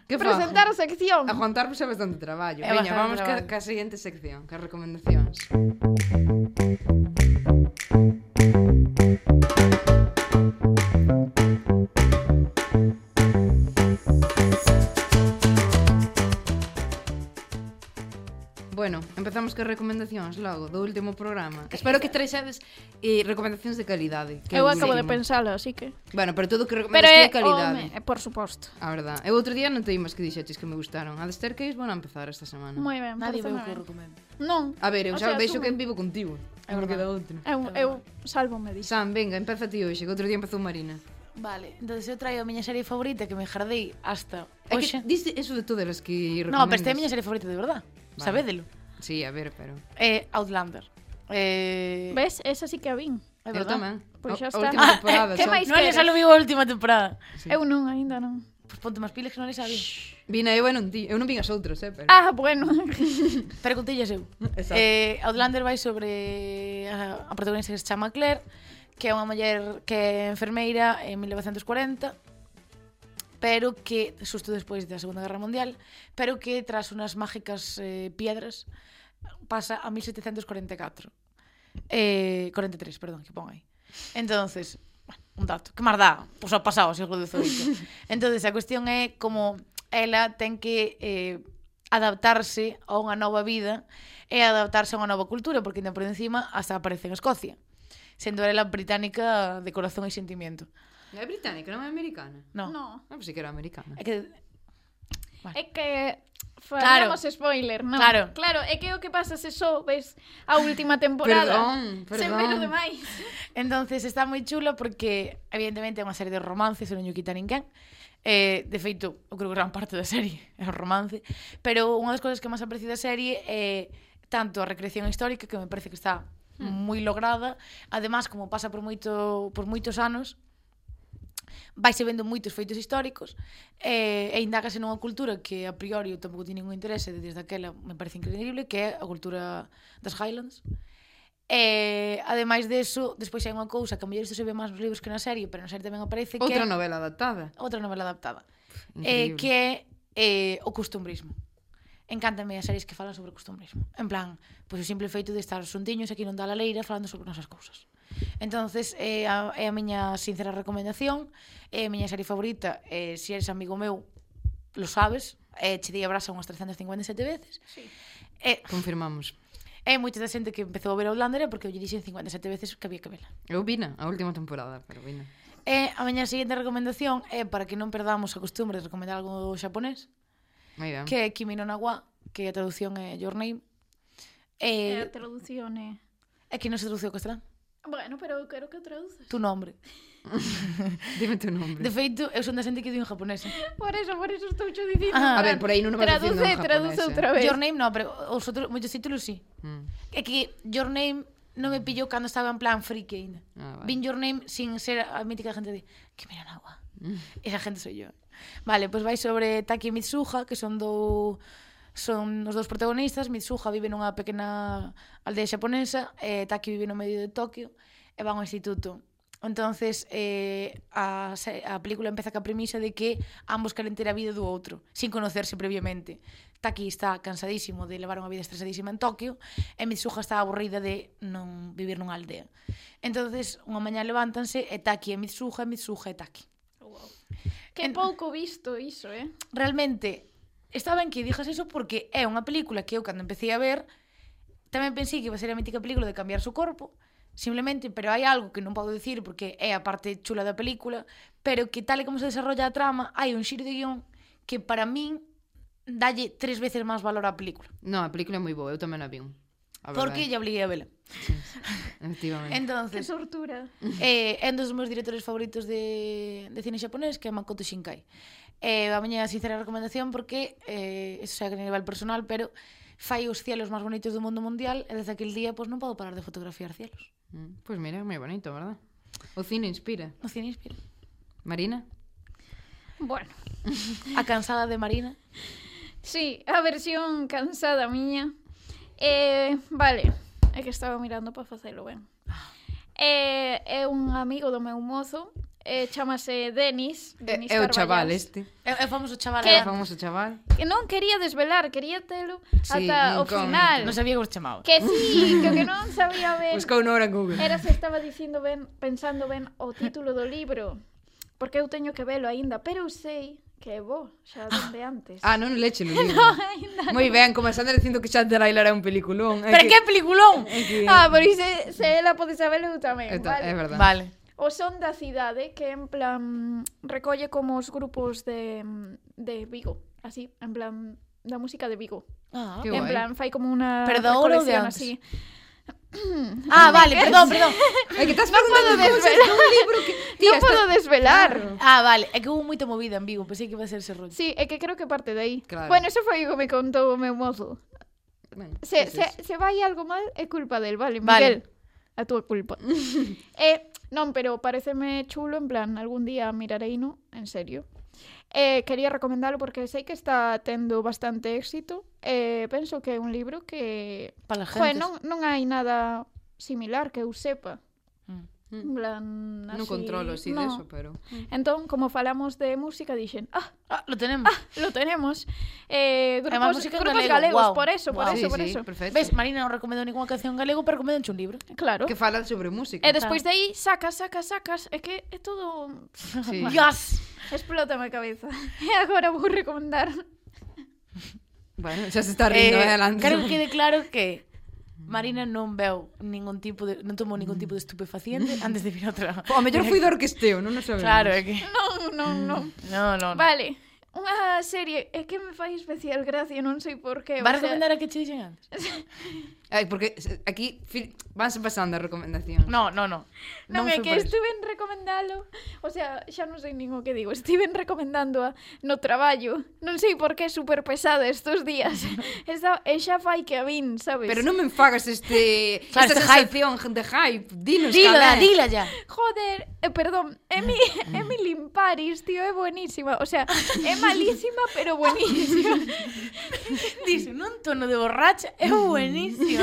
Speaker 2: Que fajo.
Speaker 3: presentar a sección.
Speaker 2: Aguantar pois é bastante traballo.
Speaker 1: É
Speaker 2: Veña,
Speaker 1: bastante
Speaker 2: vamos ca,
Speaker 1: traballo.
Speaker 2: ca seguinte sección, ca recomendacións. Bueno, empezamos que recomendacións logo do último programa. Espero que traixades eh, recomendacións de calidade. Que é o
Speaker 3: Eu acabo de
Speaker 2: último.
Speaker 3: pensala, así que...
Speaker 2: Bueno, pero todo o que
Speaker 3: Pero
Speaker 2: recomendas
Speaker 3: é,
Speaker 2: é calidade.
Speaker 3: home, é por suposto.
Speaker 2: A verdad. Eu outro día non te imas que dixeches que me gustaron. A de Staircase vou a empezar esta semana.
Speaker 3: Moi ben,
Speaker 1: Nadie veu
Speaker 3: pareceme
Speaker 1: que
Speaker 3: ben.
Speaker 1: o recomendo.
Speaker 3: Non.
Speaker 2: A ver, eu
Speaker 3: O
Speaker 2: xa
Speaker 3: sea,
Speaker 2: veixo
Speaker 3: tú-
Speaker 2: que en vivo contigo.
Speaker 1: verdad.
Speaker 2: É porque da outro.
Speaker 3: Eu, eu salvo-me disso.
Speaker 2: Sam, venga, empeza ti hoxe, que outro día empezou Marina.
Speaker 1: Vale, entonces eu traio a miña serie favorita que me jardei hasta
Speaker 2: É
Speaker 1: hoxe.
Speaker 2: que diste eso de todas as que recomendas.
Speaker 1: No, pero esta é a miña serie favorita de verdad.
Speaker 2: Vale.
Speaker 1: Sabédelo.
Speaker 2: Sí, a ver, pero...
Speaker 1: Eh, Outlander. Eh,
Speaker 3: Ves? Esa sí que a vin.
Speaker 1: é
Speaker 2: eu
Speaker 1: verdad.
Speaker 2: tamén.
Speaker 3: Pois
Speaker 2: A-
Speaker 3: xa
Speaker 2: a
Speaker 3: está.
Speaker 2: última
Speaker 1: [laughs]
Speaker 2: temporada,
Speaker 3: Que
Speaker 2: xa.
Speaker 3: máis?
Speaker 1: Noelia xa
Speaker 3: queres?
Speaker 1: lo viu a última temporada.
Speaker 2: Sí.
Speaker 3: Eu non, aínda non.
Speaker 1: Pues ponte máis pilas que non le sabía.
Speaker 2: Vina eu e non ti. Eu non vin as outras, eh, pero...
Speaker 3: Ah, bueno.
Speaker 1: Preguntillas eu.
Speaker 2: Exacto.
Speaker 1: Eh, Outlander vai sobre a, a protagonista que se chama Claire, que é unha muller que é enfermeira en 1940, pero que, xusto despois da Segunda Guerra Mundial, pero que tras unas mágicas eh, piedras pasa a 1744. Eh, 43, perdón, que pon aí. Entonces, bueno, un dato. Que máis dá? Pois ha pasado o siglo XVIII. Entonces, a cuestión é como ela ten que eh, adaptarse a unha nova vida e adaptarse a unha nova cultura, porque ainda por encima hasta aparece en Escocia. Sendo ela británica de corazón e sentimiento.
Speaker 2: É británica, non é americana.
Speaker 1: No. no.
Speaker 3: no.
Speaker 2: Ah, pois sí que era americana.
Speaker 1: É que
Speaker 3: É que faríamos spoiler, non?
Speaker 1: Claro.
Speaker 3: Claro, é que o que pasa se só ves a última temporada.
Speaker 2: Perdón,
Speaker 3: Sempre
Speaker 2: perdón.
Speaker 3: o demais.
Speaker 1: Entonces está moi chulo porque evidentemente é unha serie de romances, eu non lle quita ninguén. Eh, de feito, eu creo que gran parte da serie é un romance, pero unha das cousas que máis aprecio da serie é tanto a recreación histórica que me parece que está
Speaker 2: Hmm.
Speaker 1: moi lograda, además como pasa por moito por moitos anos, vaise vendo moitos feitos históricos e, e indagase nunha cultura que a priori eu tampouco tiña ningún interese desde aquela me parece increíble que é a cultura das Highlands e ademais deso despois hai unha cousa que a mellor isto se ve máis nos libros que na serie pero na serie tamén aparece que
Speaker 2: Outra novela adaptada.
Speaker 1: outra novela adaptada eh,
Speaker 2: Increíble.
Speaker 1: que é eh, o costumbrismo encántame as series que falan sobre o costumbrismo en plan, pois o simple feito de estar xuntiños aquí non da la leira falando sobre nosas cousas entonces é a, é a miña sincera recomendación é a miña serie favorita eh, se eres amigo meu lo sabes eh, che di abraza unhas 357 veces
Speaker 3: Sí.
Speaker 1: e,
Speaker 2: Confirmamos.
Speaker 1: e moita da xente que empezou a ver Outlander é porque eu lle dixen 57 veces que había que vela
Speaker 2: Eu vina, a última temporada, pero vina.
Speaker 1: E a miña seguinte recomendación é para que non perdamos a costumbre de recomendar algo xaponés,
Speaker 2: Moi ben.
Speaker 1: que é Kimi no Nawa, que a traducción é Your Name. E,
Speaker 3: Eh, a traducción é...
Speaker 1: é que non se traduciu ao castelán.
Speaker 3: Bueno, pero eu quero que traduces.
Speaker 1: Tu nombre.
Speaker 2: Dime teu nombre.
Speaker 1: De feito, eu son da xente que di en japonés. eh.
Speaker 3: Por eso, por eso estou cho dicindo.
Speaker 1: Ah,
Speaker 2: A ver, por aí non o vas dicindo en
Speaker 3: Traduce,
Speaker 2: japonés.
Speaker 3: traduce
Speaker 2: eh.
Speaker 3: outra vez.
Speaker 1: Your Name non, pero os outros, moitos títulos sí.
Speaker 2: Mm.
Speaker 1: É que Your Name non me pillou cando estaba en plan friki ainda.
Speaker 2: Ah, vale.
Speaker 1: Vin Your Name sin ser a mítica gente de que miran agua.
Speaker 2: Mm.
Speaker 1: Esa gente soy yo. Vale, pois pues vai sobre Taki e Mitsuha, que son do son os dous protagonistas. Mitsuha vive nunha pequena aldea xaponesa, e Taki vive no medio de Tokio e van ao instituto Entonces, eh, a, se- a película empeza ca premisa de que ambos queren ter a vida do outro, sin conocerse previamente. Taki está cansadísimo de levar unha vida estresadísima en Tokio e Mitsuha está aburrida de non vivir nunha aldea. Entonces, unha mañá levántanse e Taki e Mitsuha, e Mitsuha e Taki.
Speaker 3: Que
Speaker 1: En-
Speaker 3: pouco visto iso, eh?
Speaker 1: realmente está ben que dijas eso porque é unha película que eu cando empecé a ver tamén pensei que iba a ser a mítica película de cambiar o corpo simplemente, pero hai algo que non podo dicir porque é a parte chula da película pero que tal e como se desarrolla a trama hai un xiro de guión que para min dalle tres veces máis valor á película
Speaker 2: Non, a película é moi boa, eu tamén a vin. A
Speaker 1: porque
Speaker 2: verdade, Eh.
Speaker 1: lle obliguei a vela
Speaker 2: Efectivamente.
Speaker 3: Que
Speaker 1: entonces
Speaker 3: tortura.
Speaker 1: Eh, é un dos meus directores favoritos de, de cine xaponés que é Makoto Shinkai. Eh, a miña sincera recomendación porque eh, iso xa que a nivel personal, pero fai os cielos máis bonitos do mundo mundial e desde aquel día pois non podo parar de fotografiar cielos.
Speaker 2: Mm, Pois mira, é moi bonito, verdad? O cine inspira.
Speaker 1: No cine inspira.
Speaker 2: Marina?
Speaker 3: Bueno,
Speaker 1: A cansada de Marina.
Speaker 3: sí, a versión cansada miña. Eh, vale, é que estaba mirando para facelo ben. Eh, é un amigo do meu mozo, eh, chamase Denis, Denis
Speaker 2: É, é o
Speaker 3: Carballás.
Speaker 2: Eh, chaval este.
Speaker 1: É, é o famoso chaval.
Speaker 3: Que-
Speaker 1: Que...
Speaker 2: É o famoso chaval.
Speaker 3: Que non quería desvelar, quería telo
Speaker 2: Sí,
Speaker 3: ata o
Speaker 2: incógnito.
Speaker 3: final.
Speaker 1: Non sabía que os chamaba.
Speaker 3: Que sí, que o que non sabía ben
Speaker 2: Buscou unha hora en Google.
Speaker 3: Era se estaba dicindo ben, pensando ben o título do libro, porque eu teño que velo aínda, pero eu sei que é bo, xa dende antes.
Speaker 2: Ah, non leche o libro.
Speaker 3: [laughs] Aínda.
Speaker 2: moi ben, comezando dicindo que Shutter Island é un peliculón. É
Speaker 1: Pero que
Speaker 2: que-
Speaker 1: peliculón!
Speaker 3: Ah, por iso se ela pode sabelo eu tamén,
Speaker 2: É, ta- é
Speaker 3: vale.
Speaker 2: verdade.
Speaker 1: Vale.
Speaker 3: O son da cidade que en plan recolle como os grupos de de Vigo, así, en plan da música de Vigo.
Speaker 1: Ah,
Speaker 2: Que
Speaker 3: en
Speaker 2: guai.
Speaker 3: plan fai como unha
Speaker 1: Pero da ouro ou de
Speaker 3: recolección
Speaker 1: antes?
Speaker 3: así.
Speaker 1: ah vale, perdón, perdón.
Speaker 2: É que estás preguntando
Speaker 3: podo
Speaker 2: cousas dun libro que... Tía,
Speaker 3: non podo desvelar.
Speaker 1: Ah, vale, é que houve moita movida en Vigo, pensei que iba a ser ese rollo.
Speaker 3: Sí, é que creo que parte de aí.
Speaker 2: Claro.
Speaker 3: Bueno, eso foi o que me contou o meu mozo.
Speaker 2: Bueno,
Speaker 3: Se,
Speaker 2: pois
Speaker 3: se,
Speaker 2: eso.
Speaker 3: se vai algo mal, é culpa del, vale,
Speaker 1: Vale.
Speaker 3: Miguel. A túa
Speaker 2: [laughs]
Speaker 3: culpa. eh, non, pero pareceme chulo, en plan, algún día mirarei no, en serio. Eh, quería recomendalo porque sei que está tendo bastante éxito. Eh, penso que é un libro que...
Speaker 1: Para as
Speaker 3: Joder,
Speaker 1: gentes.
Speaker 3: non, non hai nada similar que eu sepa.
Speaker 1: Mm.
Speaker 3: En plan, así...
Speaker 2: Non controlo así no.
Speaker 3: no.
Speaker 2: deso, pero...
Speaker 3: Entón, como falamos de música, dixen, ah,
Speaker 1: Ah, lo tenemos.
Speaker 3: Lo tenemos. Eh, grupos,
Speaker 1: Además, música en
Speaker 3: grupos
Speaker 1: galego,
Speaker 3: galegos,
Speaker 1: guau,
Speaker 3: por eso, por
Speaker 1: guau.
Speaker 3: eso,
Speaker 2: sí,
Speaker 3: por
Speaker 2: sí,
Speaker 3: eso.
Speaker 2: perfecto.
Speaker 1: Ves, Marina non recomendou ninguna canción en galego, pero recomendou un libro.
Speaker 3: Claro.
Speaker 2: Que falan sobre música.
Speaker 3: E despois de aí, sacas, sacas, sacas. É que é todo...
Speaker 2: Sí.
Speaker 1: Dios!
Speaker 3: Explótame a [laughs] cabeza. E agora vou recomendar...
Speaker 2: Bueno, xa se está rindo, eh, adelante.
Speaker 1: Quero que quede claro que Marina non veu ningún tipo de non tomou ningún tipo de estupefaciente [laughs] antes de vir ao trabajo.
Speaker 2: O mellor fui do orquesteo, non o sabemos.
Speaker 1: Claro, é que
Speaker 3: Non, non, non.
Speaker 1: No, no. no.
Speaker 3: Vale. Unha serie é que me fai especial gracia, non sei por qué.
Speaker 1: Vas a recomendar a que che dixen antes?
Speaker 2: Ai, porque se- aquí fil- vanse pasando a recomendación.
Speaker 1: No, no, no.
Speaker 3: Non,
Speaker 1: Non
Speaker 3: é
Speaker 1: foi
Speaker 3: que
Speaker 1: por eso.
Speaker 3: estiven recomendalo O sea, xa non sei nin o que digo Estiven recomendando a no traballo Non sei por que é super pesada
Speaker 1: [laughs]
Speaker 3: estes días Esta, E xa fai que a vin, sabes?
Speaker 2: Pero non me enfagas este,
Speaker 1: Claro, este
Speaker 2: esta
Speaker 1: hype.
Speaker 2: sensación de hype. Dinos,
Speaker 1: Dila,
Speaker 2: cal é.
Speaker 1: dila ya.
Speaker 3: Joder, eh, perdón, Emi,
Speaker 2: [laughs]
Speaker 3: Emily in Paris, tío, é buenísima. O sea, é malísima, pero buenísima.
Speaker 1: [laughs]
Speaker 2: [laughs]
Speaker 3: [laughs]
Speaker 1: Dice nun tono de borracha, é buenísimo.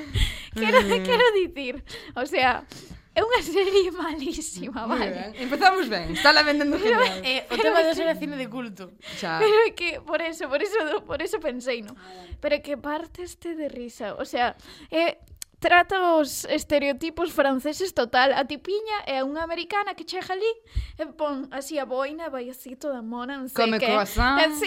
Speaker 1: [laughs]
Speaker 3: Quero, quero dicir, o sea, é unha serie malísima,
Speaker 2: Moi
Speaker 3: vale.
Speaker 2: ben. Ah, Empezamos ben. Está la vendendo genial.
Speaker 1: eh, o tema de ser cine de culto.
Speaker 2: Xa.
Speaker 3: [laughs] Pero é que por eso, por eso, por eso pensei,
Speaker 2: Ah,
Speaker 3: no. Pero é que partes te de risa, o sea, é trata os estereotipos franceses total. A tipiña é unha americana que chega ali e pon así a boina, vai así toda mona, non sei
Speaker 2: Come
Speaker 3: que.
Speaker 2: croissant.
Speaker 3: [laughs] Así,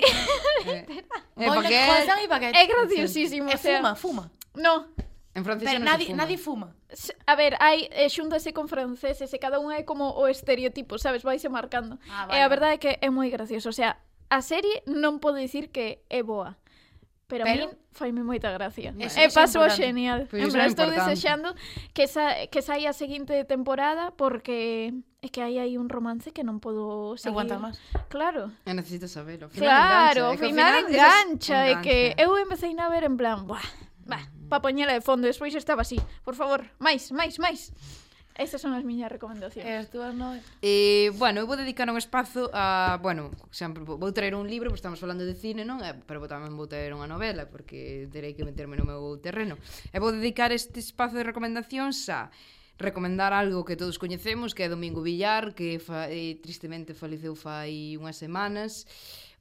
Speaker 2: Eh, eh,
Speaker 1: Oina,
Speaker 2: porque
Speaker 1: croissant e baguette.
Speaker 3: é graciosísimo,
Speaker 1: E
Speaker 3: o sea.
Speaker 1: Eh, fuma, fuma.
Speaker 3: No,
Speaker 2: en Francia
Speaker 1: Pero
Speaker 2: xa non se
Speaker 1: nadie,
Speaker 2: fuma.
Speaker 1: nadie fuma.
Speaker 3: S- A ver, hai eh, xúntase con franceses e cada unha é como o estereotipo, sabes, vaise marcando. Eh,
Speaker 1: Ah,
Speaker 3: E a verdade é que é moi gracioso, o sea, a serie non podo dicir que é boa. Pero,
Speaker 1: Pero-
Speaker 3: pero... a min faime moita gracia.
Speaker 1: Eso
Speaker 3: e
Speaker 1: é
Speaker 3: paso
Speaker 1: importante.
Speaker 3: genial.
Speaker 2: Pois
Speaker 3: en
Speaker 2: iso é
Speaker 3: plan, estou
Speaker 2: importante.
Speaker 3: desexando que, sa, que saia a seguinte temporada porque é que aí hai un romance que non podo
Speaker 1: Se
Speaker 3: seguir.
Speaker 1: aguanta máis.
Speaker 3: Claro.
Speaker 2: E necesito sabelo. Ao final
Speaker 3: Claro, ao
Speaker 2: engancha, é eh, que ao
Speaker 3: final
Speaker 2: esas-
Speaker 3: engancha, é que eu empecei a ver en plan, buah, bah, pa poñela de fondo, despois estaba así, por favor, máis, máis, máis. Estas son as miñas recomendacións.
Speaker 1: E as túas nove.
Speaker 2: Eh, bueno, eu vou dedicar un espazo a, bueno, sempre vou vou traer un libro, porque estamos falando de cine, non? Eh, Pero vou- tamén vou traer unha novela, porque terei que meterme no meu terreno. E vou dedicar este espazo de recomendacións a recomendar algo que todos coñecemos, que é Domingo Villar, que fa, eh, tristemente faleceu fai unhas semanas.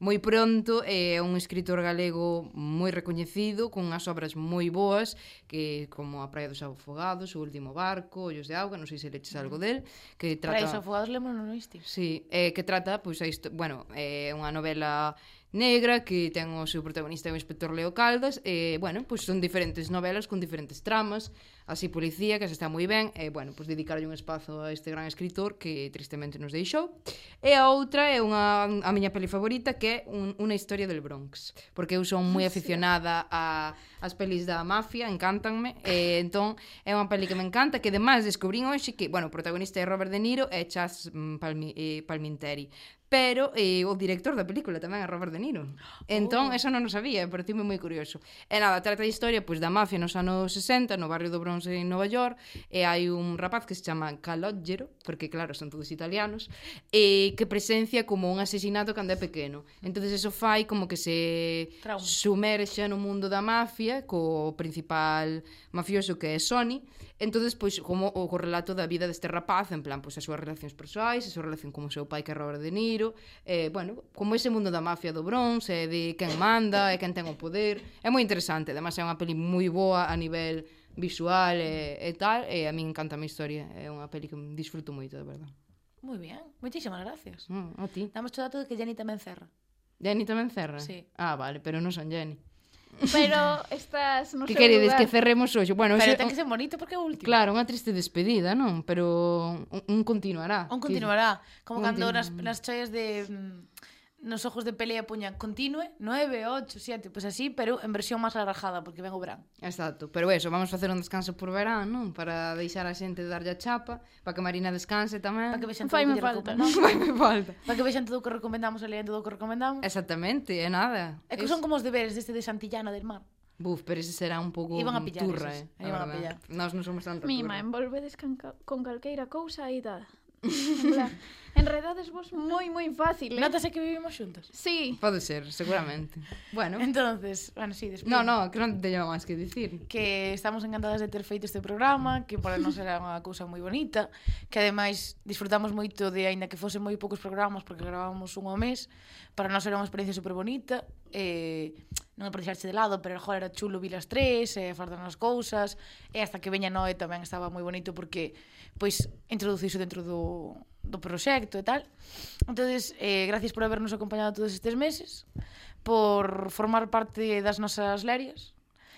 Speaker 2: Moi pronto é un escritor galego moi recoñecido, con unhas obras moi boas, que como A praia dos afogados, O último barco, Ollos de auga, non sei se leches algo del, que trata
Speaker 1: Para iso, afogados lembro non oíste.
Speaker 2: Sí, eh, que trata, pois, a histo- bueno, é eh, unha novela negra que ten o seu protagonista o inspector Leo Caldas e, eh, bueno, pois son diferentes novelas con diferentes tramas, así policía, que se está moi ben, e, eh, bueno, pois dedicarlle un espazo a este gran escritor que tristemente nos deixou. E a outra é unha a miña peli favorita que é un, unha historia del Bronx, porque eu son moi aficionada a as pelis da mafia, encántanme, e entón é unha peli que me encanta, que ademais descubrín hoxe que, bueno, o protagonista é Robert De Niro e Chas mm, Palmi, eh, Palminteri, pero eh, o director da película tamén é Robert De Niro. Entón, oh. eso non o sabía, pero tíme moi curioso. E nada, trata de historia pois, da mafia nos anos 60, no barrio do Bronx en Nova York, e hai un rapaz que se chama Calogero, porque claro, son todos italianos, e que presencia como un asesinato cando é pequeno. Entón, eso fai como que se
Speaker 1: Trauma.
Speaker 2: sumerxa no mundo da mafia co principal mafioso que é Sony entonces pois como o correlato da vida deste rapaz en plan pois as súas relacións persoais a súa relación con o seu pai que é Robert De Niro eh, bueno como ese mundo da mafia do Bronx é de quen manda é quen ten o poder é moi interesante además é unha peli moi boa a nivel visual e, e tal e a mí encanta a mi historia é unha peli que disfruto moito de verdad
Speaker 1: Moi bien, moitísimas gracias.
Speaker 2: mm, a ti
Speaker 1: Damos o dato de que Jenny tamén cerra.
Speaker 2: Jenny tamén cerra?
Speaker 1: Sí.
Speaker 2: ah vale pero non son Jenny
Speaker 3: Pero estás no
Speaker 2: que
Speaker 3: seu
Speaker 2: queredes
Speaker 3: lugar.
Speaker 2: que cerremos hoxe bueno
Speaker 1: Pero
Speaker 2: hoxe-
Speaker 1: ten que ser bonito porque é o último.
Speaker 2: Claro, unha triste despedida, non? Pero un, un continuará.
Speaker 1: Un continuará. Como
Speaker 2: Un
Speaker 1: cando
Speaker 2: continu-
Speaker 1: nas, nas choias de... mm, Nos ojos de pelea puñan continue, 9, 8, 7, pois así, pero en versión máis alargada, porque ven o verán.
Speaker 2: Exacto, pero eso, vamos facer un descanso por verán, non? Para deixar a xente darlle a chapa, para que Marina descanse tamén.
Speaker 1: Para que vexan todo o
Speaker 3: Faime
Speaker 1: que lle
Speaker 3: falta.
Speaker 1: recomendamos.
Speaker 2: [laughs] Vai, me falta.
Speaker 1: Para que vexan todo o que recomendamos e lean todo o que recomendamos.
Speaker 2: Exactamente, é nada.
Speaker 1: É que son como os deberes deste de Santillana del Mar.
Speaker 2: Buf, pero ese será un pouco
Speaker 1: Iban a pillar
Speaker 2: turra,
Speaker 1: eses,
Speaker 2: eh? a
Speaker 1: iban a pillar.
Speaker 2: verdad. Nós non somos tan
Speaker 3: Mima, envolvedes can, ca- con calqueira cousa aí dada. En plan, Enredades vos moi moi fácil, eh?
Speaker 1: Notase que vivimos xuntos.
Speaker 3: Sí,
Speaker 2: Pode ser,
Speaker 1: [laughs]
Speaker 2: seguramente. bueno,
Speaker 1: Entonces, bueno, sí, despois.
Speaker 2: no, no, que non teño máis que dicir.
Speaker 1: que estamos encantadas de ter feito este programa, que para nós era unha cousa moi bonita, que ademais disfrutamos moito de, aínda que fose moi poucos programas, porque grabábamos un ao mes, para nós era unha experiencia super bonita, eh, non é por deixarse de lado, pero joder, era chulo vir as tres, e eh, fardarnos cousas, e hasta que veña Noe tamén estaba moi bonito, porque pois introduciso dentro do, do proxecto e tal. Entonces, eh, gracias por habernos acompañado todos estes meses, por formar parte das nosas lerias,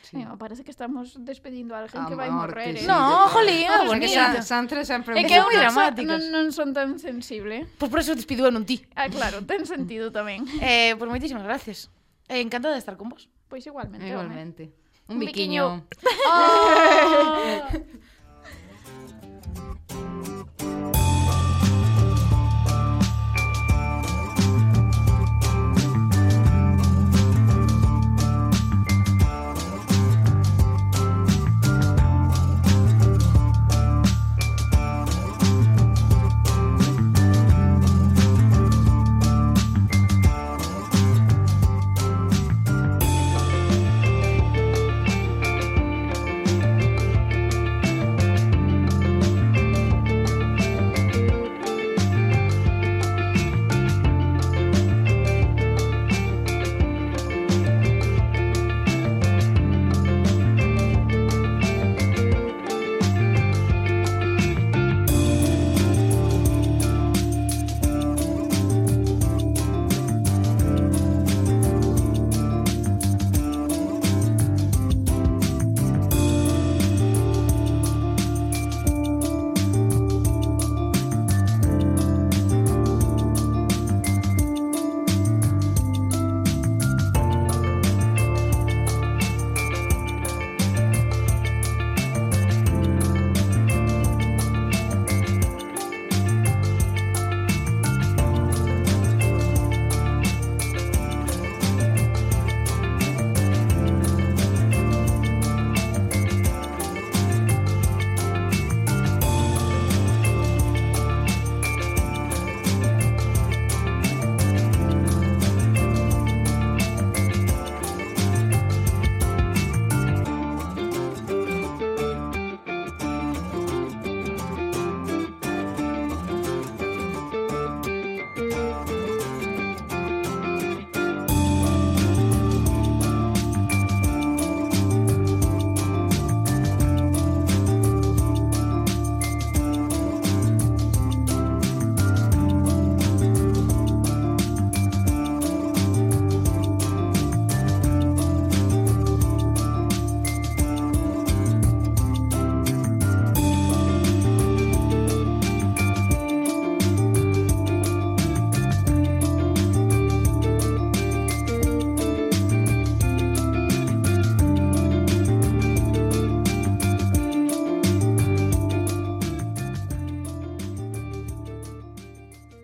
Speaker 2: Sí.
Speaker 3: Mima, parece que estamos despedindo a alguén
Speaker 2: A
Speaker 3: que vai
Speaker 2: morte,
Speaker 3: morrer.
Speaker 2: sí,
Speaker 3: eh.
Speaker 1: No,
Speaker 2: total.
Speaker 1: jolín, é
Speaker 2: O sea, que
Speaker 1: bonito.
Speaker 2: San- Santra sempre
Speaker 3: É
Speaker 1: que
Speaker 3: que
Speaker 1: é
Speaker 3: eu
Speaker 1: moi
Speaker 3: non so-
Speaker 1: dramáticas.
Speaker 3: non, non son tan sensible.
Speaker 1: Pois por eso despidiu en un ti.
Speaker 3: Ah, claro, ten sentido tamén.
Speaker 1: Eh, pois moitísimas gracias. Eh, encantada de estar con vos.
Speaker 3: ¿eh? Pois igualmente, home.
Speaker 2: Igualmente. Un
Speaker 3: Un biquiño. [laughs]
Speaker 2: biquiño.
Speaker 1: Oh!